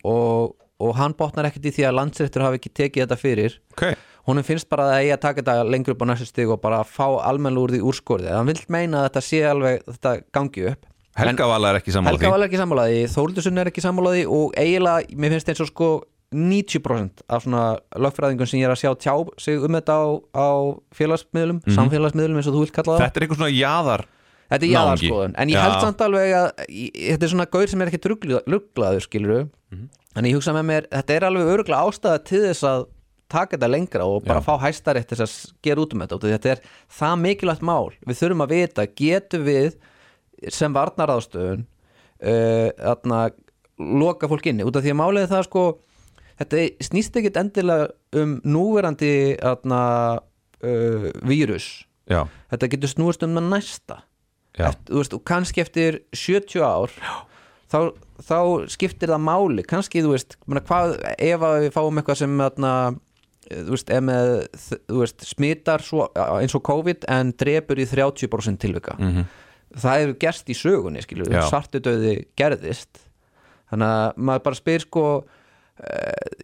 S1: og, og hann botnar ekkert í því að landsréttur hafi ekki tekið þetta fyrir
S2: Ok.
S1: honum finnst bara að það eigi að taka þetta lengur upp á næstu stig og bara fá almenlega úr því úrskorðið hann vilt meina að þetta sé alveg þetta gangi upp
S2: Helga Vala er ekki
S1: en,
S2: sammála
S1: Helga
S2: því
S1: var ekki sammálaði, Þóruldusun er ekki sammálaði og eiginlega, mér finnst eins og sko 90% af svona lögfræðingum sem ég er að sjá tjá sig um þetta á, á félagsmiðlum, samfélagsmiðlum eins og þú vilt kalla það
S2: Þetta er einhver svona jaðar
S1: Þetta er
S2: Náungi.
S1: jáðarskoðun En ég held
S2: Já.
S1: samt alveg að í- Þetta er svona gaur sem er ekkit rugglaður skilur
S2: Mhm.
S1: En ég hugsa með mér Þetta er alveg örgulega ástæða til þess að taka þetta lengra og bara
S2: Já.
S1: fá hæstarétt til þess að gera út um þetta út af því þetta er það mikilvægt mál við þurfum að vita, getum við sem varnaráðstöðun uh, þarna loka fólk inni út af því að málið er það sko þetta snýst ekkit endilega um núverandi þarna uh, vírus
S2: Já,
S1: þetta getur snúist um það næsta
S2: já,
S1: eftir, þú veist, og kannski eftir 70 ár þá, þá skiptir það máli kannski, þú veist, mena, hvað, ef að við fáum eitthvað sem þarna, eh, þú veist, ef með, þú veist, smitar svo, eh, eins og COVID en drepur í 30% tilvika -hmm. það hefur gerst í sögunni, skilur
S2: Já.
S1: við svartudauði gerðist þannig að maður bara spyr sko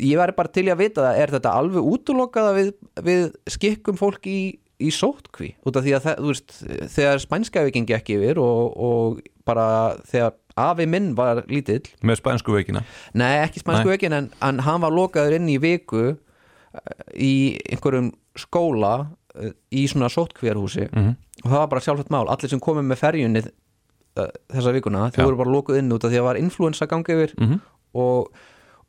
S1: ég væri bara til í að vita það er þetta alveg útlokaða við, við skikkum fólk í, í sótkví út af því að það, þú veist, þegar spænska við gengi ekki yfir og, og bara þegar afi minn var lítill
S2: með spænsku veikina
S1: nei ekki spænsku
S2: Nei.
S1: veikin en, en hann var lokaður inn í viku eh, í einhverjum skóla eh, í svona sótkvíarhúsi
S2: Mhm.
S1: og það var bara sjálfsagt mál allir sem komið með ferjunni eh, þessa vikuna þau
S2: Já. Mhm.
S1: voru bara lokuð inn út af því að það var influensa gangi yfir og,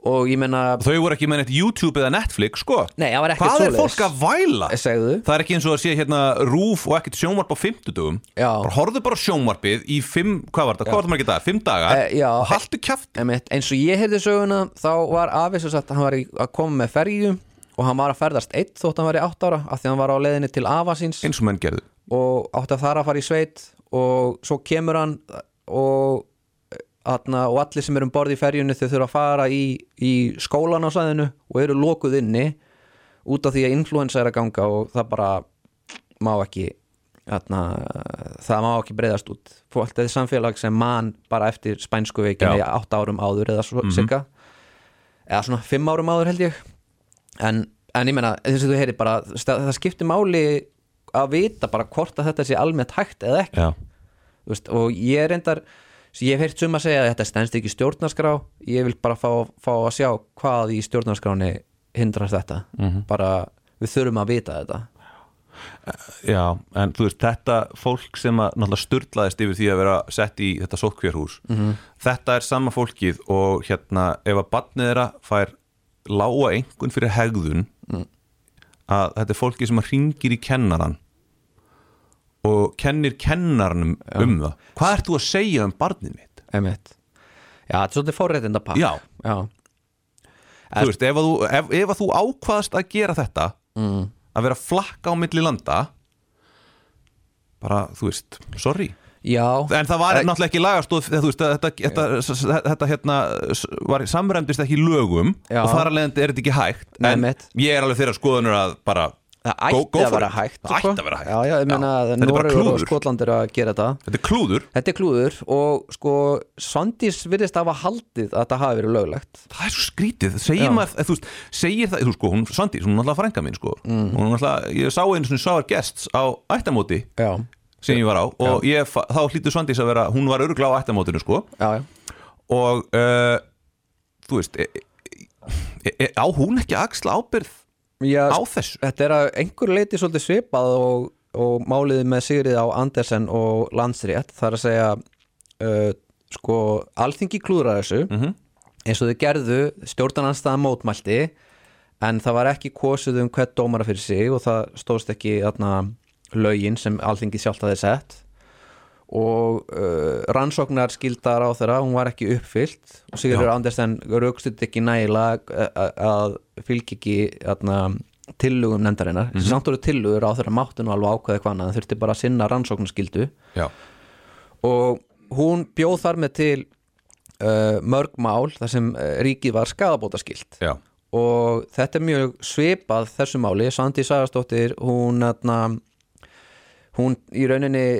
S1: og ég menna
S2: Þau voru ekki með neitt YouTube eða Netflix, sko
S1: Nei, það var ekkert
S2: Hvað er
S1: svoleiðis.
S2: fólk að væla?
S1: segðu
S2: Það er ekki eins og að sé hérna rúf og ekkert sjónvarp á fimmtudugum
S1: Já.
S2: Bara horfðu bara á sjónvarpið í fimm, hvað var þetta, hvað var þetta margir dagar, fimm dagar
S1: Eh, já.
S2: Og haltu kjaft
S1: Emitt, eins og ég heyrði söguna þá var afið sem sagt hann var í, að koma með ferju og hann var að ferðast eitt þótt hann var í átt ára af því hann var á leiðinni til afa síns
S2: Eins og menn gerðu
S1: og átti að þar að fara í sveit og svo kemur hann og, atna, og allir sem eru um borð í ferjunni þau þurfa að fara í, í skólan á sæðinu og eru lokuð inni út af því að influensa er að ganga og það bara má ekki atna, það má ekki breyðast út fólk þetta er samfélag sem man bara eftir spænsku veikinni
S2: Já.
S1: átt árum áður eða svo, mm eða svona fimm árum áður held ég en, en ég meina þess að þú heyri bara sta- það skiptir máli að vita bara hvort að þetta sé almennt hægt eða ekki
S2: Já,
S1: Þú veist, og ég reyndar svo ég hef heyrt sum að segja að þetta stendst ekki í stjórnarskrá ég vil bara fá, fá að sjá hvað í stjórnarskráni hindrar þetta
S2: Mhm.
S1: bara við þurfum að vita þetta
S2: já, en þú veist, þetta fólk sem að náttúrulega sturlaðist yfir því að vera sett í þetta sótkvérhús Þetta er sama fólkið og hérna ef að barnið þeirra fær lága einhvern fyrir hegðun að þetta er fólkið sem að ringir í kennaran og kennir kennaranum um það Hvað ert þú að segja um barnið mitt?
S1: einmitt já, þetta er svolítið forréttinda pakk
S2: Já. þú veist, ef að þú, ef, ef að þú ákvaðast að gera þetta að vera flakka á milli landa bara, þú veist, sorry
S1: já,
S2: en það var
S1: Eh,
S2: náttúrulega ekki lagastóð þú veist, að þetta, þetta, þetta, þetta hérna s- var, samræmdist ekki í lögum
S1: Já.
S2: og þar alveg er þetta ekki hægt
S1: Nei,
S2: en
S1: mitt.
S2: ég er alveg þeirra skoðunur að bara
S1: það
S2: go-
S1: ætti
S2: go
S1: að
S2: for
S1: vera
S2: it.
S1: hægt
S2: það
S1: sko.
S2: ætti að vera hægt
S1: já, já, ég meina
S2: Já.
S1: að
S2: þetta er bara
S1: Noregur og
S2: klúður
S1: Skotland eru að gera þetta
S2: þetta er klúður,
S1: Þetta er klúður og sko Svandís virðist hafa haldið að þetta hafi verið löglegt
S2: það er svo skrítið segir
S1: Já.
S2: maður, þú veist, segir það þú veist, sko, hún Svandís, hún er alltaf frænka mín sko.
S1: Mhm.
S2: hún er alltaf, ég sá einu svona sáar guests á ættamóti
S1: Já,
S2: sem ég var á og ég, fa- þá hlýtur Svandís að vera hún var örugla á ættamótinu sko
S1: já, já
S2: og uh, þú veist e, e, e, á hún ekki að axla ábyrð
S1: Já,
S2: á
S1: sko,
S2: þessu
S1: Þetta er að einhver leiti svolítið svipað og, og máliði með Sigrið á Andersen og Landsrétt það er að segja uh, sko, alþingi klúðrar þessu eins og þau gerðu stjórnarnanstæða mótmælti en það var ekki kosið um hvert dómara fyrir sig og það stóðst ekki þarna, lögin sem alþingi sjálft hafði sett og uh, rannsóknar skildar á þeirra hún var ekki uppfyllt og Sigurður
S2: Já.
S1: Andersen raukstuði ekki nægilega a- a- að fylgja ekki atna, tillugum nefndarinnar mm -hmm. samt voru tillugur á þeirra máttu nú alveg ákveði hvað annað, þurfti bara að sinna rannsóknarskildu
S2: já,
S1: og hún bjóð þar með til uh, mörg mál þar sem uh, ríkið var skadabótaskilt
S2: já,
S1: og þetta er mjög svipað þessu máli, Sandi Sagastóttir hún atna, hún í rauninni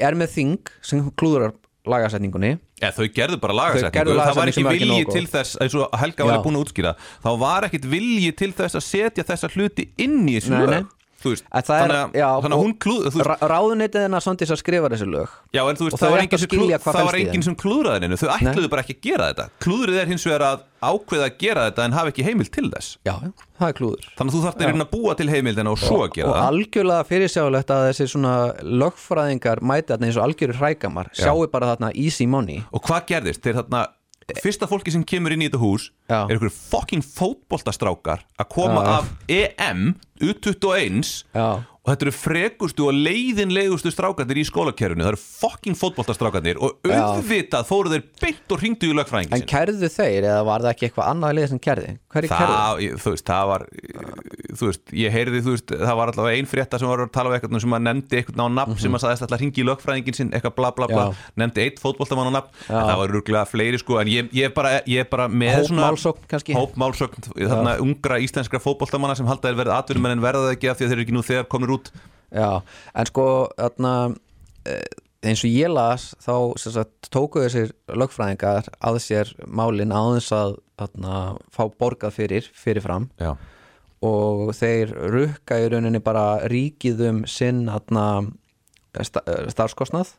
S1: er með þing sem klúðrar lagasetningunni
S2: Eða þau gerðu bara lagasetningu,
S1: gerðu
S2: það var
S1: lagasetningu
S2: ekki
S1: sem var ekki
S2: vilji
S1: nógu góð.
S2: til þess, eins og Helga var
S1: Já.
S2: búin að útskýra þá var ekkit vilji til þess að setja þessa hluti inn í þessu
S1: Nei,
S2: lög
S1: nei.
S2: Þú veist,
S1: En það er-
S2: þannig, að,
S1: já,
S2: þannig að
S1: og-
S2: hún klúð þú veist,
S1: Ra ráðuneytið hennar Sondís að skrifa þessi lög
S2: Já, en þú veist,
S1: og
S2: það
S1: þau
S2: var
S1: ættu
S2: enginn
S1: að
S2: sem,
S1: skilja
S2: klúð,
S1: hvað
S2: það var
S1: felst í
S2: enginn
S1: þeim.
S2: sem klúðraði hennu þau ætluðu bara ekki að gera þetta klúðrið er hins vegar að ákveða að gera þetta en hafa ekki heimil til þess
S1: Já, já, það er klúður
S2: þannig að þú þarft að reyna að búa til heimildina og svo að gera
S1: og
S2: það
S1: algjörlega fyrirsjáulegt að þessi svona lögfræðingar mæti þarna eins og algjörir hrækamar sjáu bara þarna easy money
S2: og hvað gerðist, þeir þarna fyrsta fólki sem kemur inn í þetta hús
S1: Já.
S2: er ykkur fucking fótboltastrákar að koma
S1: Já.
S2: af E EM U21
S1: Já.
S2: og þetta eru frekustu og leiðinlegustu strákarnir í skólakerfinu, það eru fucking fótboltastrákarnir og auðvitað fóru þeir beint og hringdu í lögfræðingin
S1: en
S2: sinn
S1: kærðu þeir eða var það ekki eitthvað annað lið sem kærði? Hverju kærðu?
S2: Það, ég- þú veist, það var þú veist, ég heyrði, þú veist, það var allavega ein frétta sem var að tala um eitthvað sem að nefndi eitthvað á nafn sem að sagðist alltaf að ringi í lögfræðingin sinn eitthvað bla bla bla,
S1: Mhm. Já.
S2: nefndi eitt fótboltamann á nafn, en það var rúglega fleiri sko, en ég, ég, er bara, ég er bara með
S1: Hópmálsókn kannski?
S2: Hópmálsókn, þarna ungra íslenskra fótboltamanna sem halda þeir verið atvinnumenn en verða það ekki af því að þeir eru ekki nú þegar komnir út
S1: Já, en sko þarna, eh, eins og ég las þá sem sagt, tóku þessir lögfræðingar að sér málin aðeins að þarna, fá borgað fyrir fyrirfram
S2: Já,
S1: og þeir rukka í rauninni bara ríkið um sinn þarna, sta- eh, starfskostnað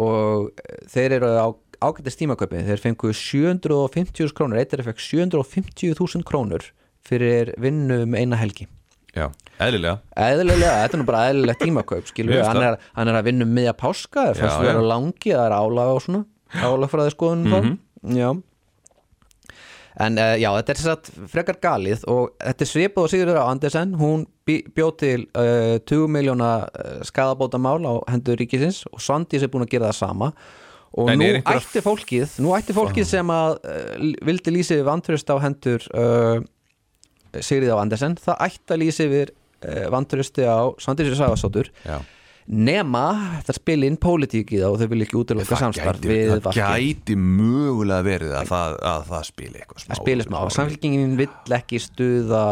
S1: og eh, þeir eru á ágættis tímaköpi þeir fengu 750 krónur eittir fekk 750.000 krónur fyrir vinnu um eina helgi
S2: já, eðlilega
S1: eðlilega, þetta er nú bara eðlilegt tímakaup skilur
S2: Mér
S1: við,
S2: finnst
S1: hann er, hann er að vinna um miðja páska það fannst
S2: Já,
S1: vera
S2: já.
S1: langi, það er álag og svona álag frá það skoðunum
S2: Mhm.
S1: mm já en uh, já, þetta er þess að frekar galið og þetta er svipað og Sigurður á Andersen hún bí- bjó til uh, 20 miljóna uh, skadabótamál á hendur ríkisins og Sandís er búin að gera það sama og
S2: En
S1: nú
S2: er einhverjar-
S1: ætti fólkið nú ætti fólkið sem að uh, vildi lýsa við vantröst á hendur uh, Sigrið á Andersen það ætti að lýsa yfir uh, vandurusti á Sandrísu Sæfarsóttur
S2: Já.
S1: nema það spili inn pólitík í það og þau vilja ekki útiloka samstarf
S2: gæti,
S1: við
S2: það
S1: vakki
S2: gæti mögulega verið að það, að það spili eitthvað smá
S1: að spila smá, samfélkingin vill ekki stuða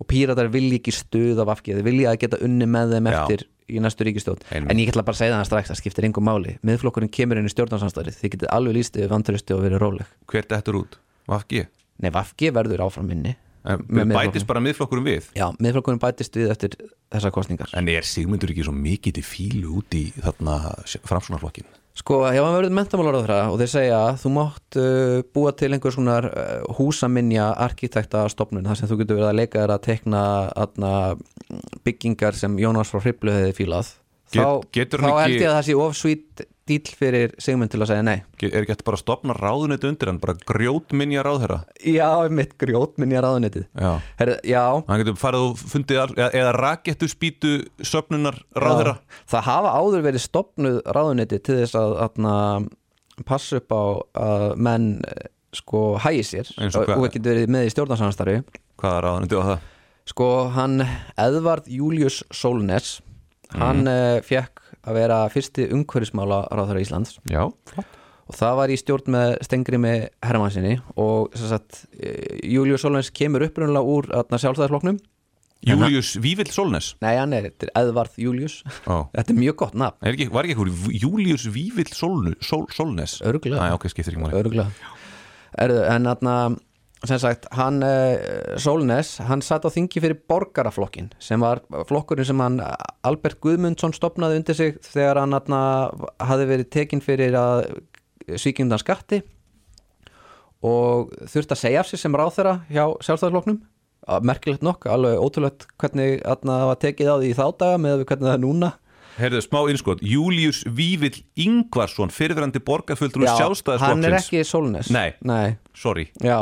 S1: og píratar vilja ekki stuða vafki, þau vilja að geta unni með þeim
S2: Já.
S1: eftir í næstu ríkistjórn
S2: Einmitt.
S1: en ég ætla bara að segja það strax, það skiptir engum máli miðflokkurinn kemur inn í stjórnarsamstarið, þið getið alveg lýst yfir vandurusti og verið róleg
S2: Hvert þetta út? Vafki?
S1: nei, vafki verður áfram minni
S2: Við bætist bara miðflokkurum við
S1: já, miðflokkurinn bætist við eftir þessar kostningar
S2: En er Sigmundur ekki svo mikið til fílu út í þarna framsunarflokkin?
S1: Sko, já, hann verður mentamálaráðra og þeir segja að þú mátt uh, búa til einhvers konar uh, húsaminja arkitekta stopnun, þar sem þú getur verið að leika þér að tekna atna, byggingar sem Jónas frá Hriblu hefði fílað
S2: Get-
S1: þá,
S2: getur
S1: þá
S2: hann ekki-
S1: held ég að það sé ofsvít díl fyrir Sigmund til að segja nei
S2: Er ekki hægt bara að stopna ráðunett undir hann, bara grjótminja ráðherra?
S1: Já, mitt grjótminja ráðunetið
S2: Já.
S1: Herðu, já,
S2: Hann getur farið og fundið all, eða, eða rakettu spýtu söpnunar ráðherra?
S1: Já, það hafa áður verið stopnuð ráðuneyti til þess að atna, passa upp á að menn eh, sko hægi sér
S2: Eins og
S1: og,
S2: hvað?
S1: og getur verið með í stjórnarsamstarfi
S2: Hvaða ráðunetti var það?
S1: sko hann Edvard Július Solnes hann mm. fekk að vera fyrsti umhverfismála ráðhverja Íslands
S2: Já, flott.
S1: og það var í stjórn með Stengrimi Hermannsinni og sem sagt, eh, Július Solnes kemur upprunalega úr sjálfstæðisfloknum
S2: Július Vívill Solnes?
S1: nei hann er, þetta er Edvard Július
S2: Ó.
S1: þetta er mjög gott nafn
S2: Er ekki, var ekki eitthvað Július Vívill Solnu, Sol, Solnes?
S1: Örugglega.
S2: Æ, ok, skiptir ekki máli.
S1: Örgulega Erðu, en þarna sem sagt, hann uh, Solnes, hann satt á þingi fyrir borgaraflokkin sem var flokkurinn sem hann eh, Albert Guðmundsson stopnaði undir sig þegar hann þarna hafði verið tekin fyrir að svíkjumdan skatti og þurfti að segja af sér sem ráðherra hjá sjálfstæðarflokknum merkilegt nokk, alveg ótrúlegt hvernig þarna var tekið á því í þá daga með við hvernig það er núna
S2: Herðu, smá innskot. Július Vívill Ingvarsson, fyrirverandi
S1: Já,
S2: borgarfulltrú
S1: hann er
S2: sjálfstæðisflokksins.
S1: ekki Solnes
S2: Nei.
S1: Nei.
S2: Sorry,
S1: Já,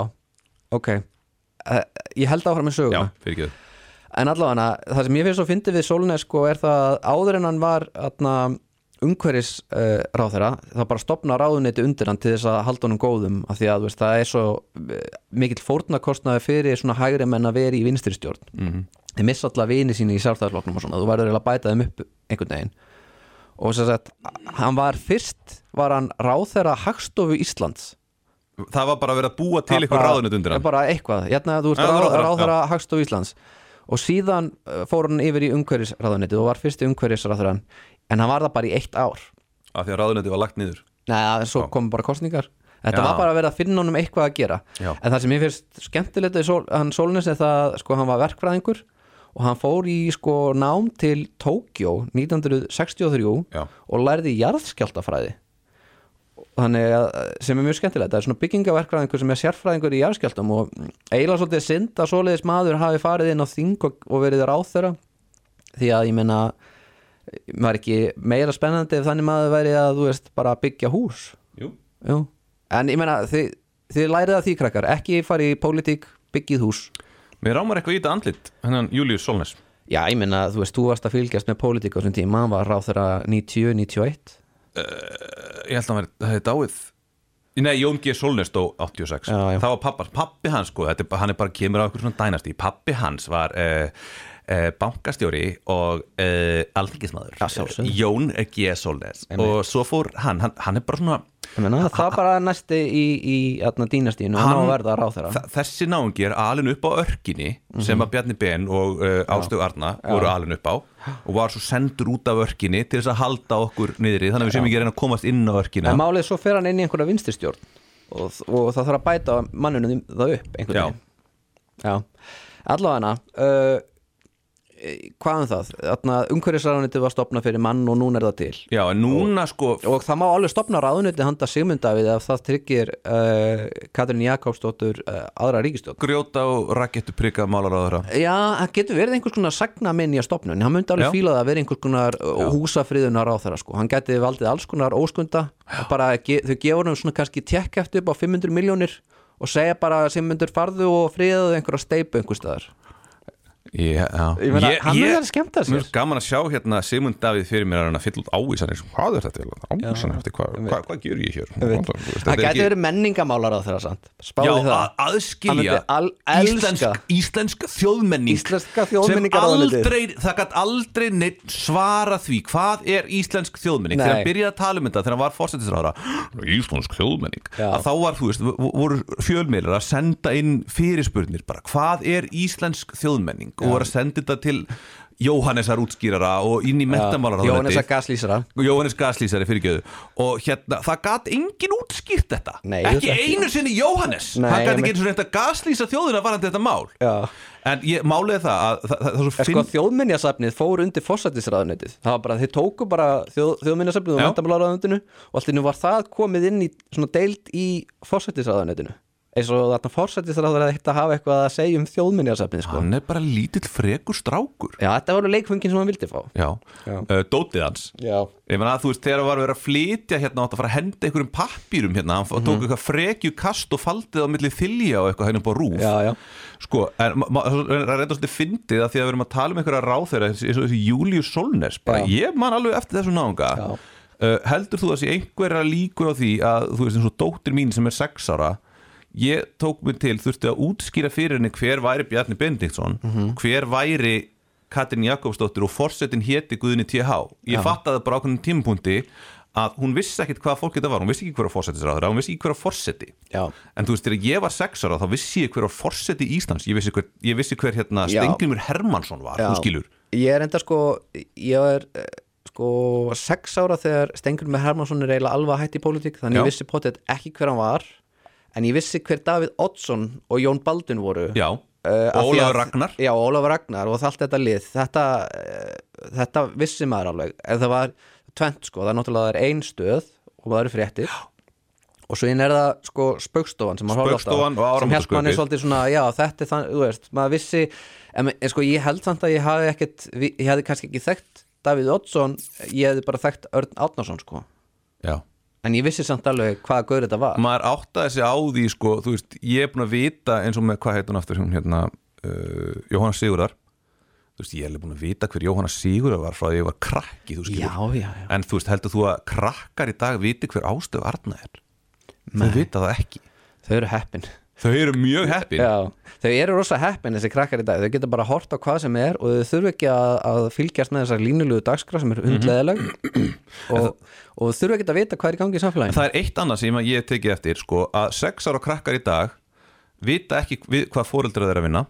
S1: ok uh, Ég held áfram með söguna
S2: já, fyrir ekki
S1: En allavega, það sem ég finnst svo fyndi við Solnes sko, er það að áður en hann var atna, umhverfis uh, ráðherra þá bara stopna ráðuneyti undir hann til þess að halda honum góðum af því að þú veist, það er svo eh, mikill fórnarkostnaði fyrir svona hægri menn að vera í vinstristjórn mm -hmm. þeir missa alla vini síni í sjálfstæðarflokknum og svona, þú verður eiginlega að bæta þeim upp einhvern veginn og sem sagt, hann var fyrst var hann ráðherra hagstofu Íslands
S2: Það var bara að vera að búa til
S1: Það
S2: eitthvað
S1: bara-
S2: ráðunett undir
S1: Já,
S2: hann
S1: bara eitthvað, hérna þú ert
S2: Já,
S1: ráð,
S2: ráðherra,
S1: ráðherra Hagstof Íslands og síðan uh, fór hann yfir í umhverfisráðunetið og var fyrsti umhverfisráðurann en hann var það bara í eitt ár
S2: Af því að ráðunetti var lagt niður
S1: Nei, svo kom bara kostningar Þetta
S2: Já.
S1: var bara að vera að finna honum eitthvað að gera
S2: Já.
S1: En það sem mér finnst skemmtilegt við sól, hann Sólnes er það, sko, hann var verkfræðingur og hann fór í sko nám til Tókjó 1963
S2: Já.
S1: og lærði jarðskjáltafræði þannig að sem er mjög skemmtilegt, það er svona byggingaverkfræðingur sem er sérfræðingur í jarðskjáltum og eiginlega svolítið synd að svoleiðis maður hafi farið inn á þing og, og verið ráþöra því að ég meina var ekki meira spennandi ef þannig maður væri að þú veist bara byggja hús
S2: Jú.
S1: Jú. en ég meina þið, þið lærið að því krakkar, ekki farið í pólitík byggið hús
S2: Mér rámar eitthvað í þetta andlit hennan Július Solnes
S1: já ég meina þú veist, þú varst að fylgjast með pólitík á þessum tíma, hann var ráþöra 90-91
S2: Eh, Ég held að hann væri- það hefði dáið Nei, Jón G. Solnes dó 86
S1: Já, já.
S2: Það var pappar, pappi hans sko þetta, er bara- Hann er bara kemur á eitthvað svona dænasti Pappi hans var uh, uh, bankastjóri og uh, alþingismadur
S1: Já, sjálfsögðu.
S2: Jón G. Solnes Og svo fór hann, hann, hann er bara svona
S1: ég meina það er bara næsti í, í hérna, atna, dýnastínu, hann á að verða ráþöra
S2: þa- Þessi náungi er alin upp á örkinni
S1: Mhm.
S2: sem að Bjarni Ben og uh, Áslög Arna voru alin upp á og var svo sendur út af örkinni til þess að halda okkur niðri þannig að við séum ekki að reyna að komast inn á örkina
S1: en málið svo fer hann inn í einhverja vinstistjórn og, og það þarf að bæta mannunum það upp einhvern
S2: Já.
S1: veginn já, allavega uh, e, hvað um það Þarna, umhverfisraðunitið var stopnað fyrir mann og núna er það til
S2: Já, en núna sko
S1: og það má alveg stopna ráðunitið handa Sigmundavið ef það tryggir uh, Katrin Jakobsdóttur uh, aðra ríkistjórn
S2: grjóta og rakettu prika málaráðara
S1: Já, það getur verið einhvers konar sagna minn í að stopnun, hann myndi alveg
S2: Já.
S1: fíla það að vera einhvers konar húsafriðunar á þeirra sko, hann geti valdið alls konar óskunda og bara ge þau gefur hann svona kannski tjekk eftir upp á 500 miljónir og segja bara sem myndur farðu og friðuðu einhverja steipu einhvers staðar
S2: Já,
S1: Ég meina, hann er að skemmta sér.
S2: Mér er gaman að sjá hérna Sigmund Davíð fyrir mér að hann að fylla út ávísanir Hvað er þetta? Ávísanir eftir hvað, hvað, hvað gjör ég hér? Þetta er
S1: Það
S2: ekki-
S1: geti verið menningamálar á þeirra samt,
S2: Já,
S1: spáði
S2: að,
S1: það Hann
S2: aðskilja
S1: myndi al- elska-
S2: íslensk, íslensk þjóðmenning
S1: Íslenska þjóðmenningarráðuneytið.
S2: sem aldrei, það gætt aldrei neitt svara því hvað er íslensk þjóðmenning
S1: Nei.
S2: þegar hann byrjaði að tala um þetta þegar hann var fórsetisráðara íslensk þjóðmenning
S1: Já.
S2: að þá var, þú veist, vo- voru fjölmeilar að senda inn fyrirspurnir bara hvað er íslensk þjóðmenning og voru að senda þetta til Jóhannesar útskýrara og inn í mentamálar
S1: Jónessa Gaslýsara
S2: Jóhannes Gaslýsari fyrirgjöðu og hérna, það gat engin útskýrt þetta
S1: Nei, ég
S2: ekki
S1: veit ekki.
S2: einu sinni Jóhannes
S1: Nei,
S2: hann gat
S1: einmitt.
S2: ekki einu sinni reynt að gaslýsa þjóðina varandi þetta mál
S1: Já.
S2: en ég málið er það að það, það, það er
S1: Sko
S2: svo finn
S1: þjóðminjasafnið fór undir fórsættisraðunetið það var bara, þeir tóku bara þjóð, þjóðminjasafnið og
S2: Já.
S1: mentamálaráðunetinu og allt innum var það komið inn í svona deild í fórsættisraðunetinu eins og þarna fórsættisraður að þetta hafa eitthvað að segja um þjóðminjasafnið sko.
S2: hann er bara lítill frekur strákur
S1: Já, þetta voru leikfungin sem hann vildi fá
S2: já, Uh, dótið hans
S1: Já,
S2: Ég meina að þú veist, þegar það var verið að flytja hérna átt að fara að henda einhverjum pappýrum hérna hann tók
S1: Mhm.
S2: eitthvað frekju kast og faldið á milli þylja og eitthvað hérna upp á rúf
S1: já, já
S2: Sko, en ma- ma- það er reynda svolítið fyndið að því að við erum að tala um einhverja ráþeira eins eins og þessi Július Solnes bara,
S1: Já.
S2: ég man alveg eftir þessu náunga
S1: Já.
S2: uh, heldur þú að sé einhverja líkur á því að þú veist eins og dóttir mín sem er sex ára ég tók mér til, þurfti að útskýra fyrir henni hver væri Bjarni Benediktsson
S1: Mhm.
S2: hver væri Katrin Jakobsdóttir og forsetin héti Guðni TH ég
S1: Já.
S2: fattaði bara á hvernig tímapunkti að hún vissi ekkit hvað fólk þetta var hún vissi ekki hverja forsetisráður, hún vissi ekki hverja forseti
S1: Já.
S2: En þú veist, þegar ég var sex ára þá vissi ég hver á forseti Íslands Ég vissi hver, ég vissi hver hérna
S1: Já.
S2: Stengrimur Hermansson var, þú skilur
S1: Ég er enda sko, ég er eh, sko sex ára þegar Stengur með Hermansson er eiginlega alveg hætt í pólitík þannig
S2: Já.
S1: ég vissi potið ekki hver hann var en ég vissi hver Davíð Oddsson og Jón Baldun voru
S2: Já,
S1: Eh, af því
S2: Ólafur
S1: að-
S2: Ragnar
S1: Já, Ólafur Ragnar og allt þetta lið þetta, uh, þetta vissi maður alveg en það var tvent sko, það er náttúrulega það er ein stöð og það eru fréttir og svo inn er það sko spaukstofan sem maður horfði alltaf á,
S2: Spaugstofan og
S1: sem held manni
S2: áramótaskaupið.
S1: svolítið svona, já þetta er þannig, þú veist maður vissi, en, ma- en sko ég held samt að ég hafi ekkit, vi- ég hefði kannski ekki þekkt Davíð Oddsson, ég hefði bara þekkt Örn Átnarsson sko,
S2: Já
S1: en ég vissi samt alveg hvaða gaur þetta var
S2: Maður áttaði sig á því, sko, þú veist Ég er búin að vita eins og með, hvað heit hún aftur hún hérna uh, Jóhanna Sigurðar Þú veist, ég er alveg búin að vita hver Jóhanna Sigurðar var frá því ég var krakki, þú
S1: Já,
S2: skilur
S1: já, já
S2: En þú veist, heldur þú að krakkar í dag viti hver ástöðu Arna er? Þau vita það ekki
S1: Þau eru heppin
S2: Þau eru mjög heppin
S1: Já, þau eru rosa heppin þessi krakkar í dag, þau geta bara hort á hvað sem er og þau þurfa ekki að, að fylgjast með þessar línulugu dagskrá sem er hundleðileg og, og þurfa ekki að vita hvað er í gangi í
S2: En
S1: samfélaginu
S2: það er eitt annað sem að ég hef tekið eftir sko, að sex ára krakkar í dag vita ekki við, hvað fóreldrar þeirra vinna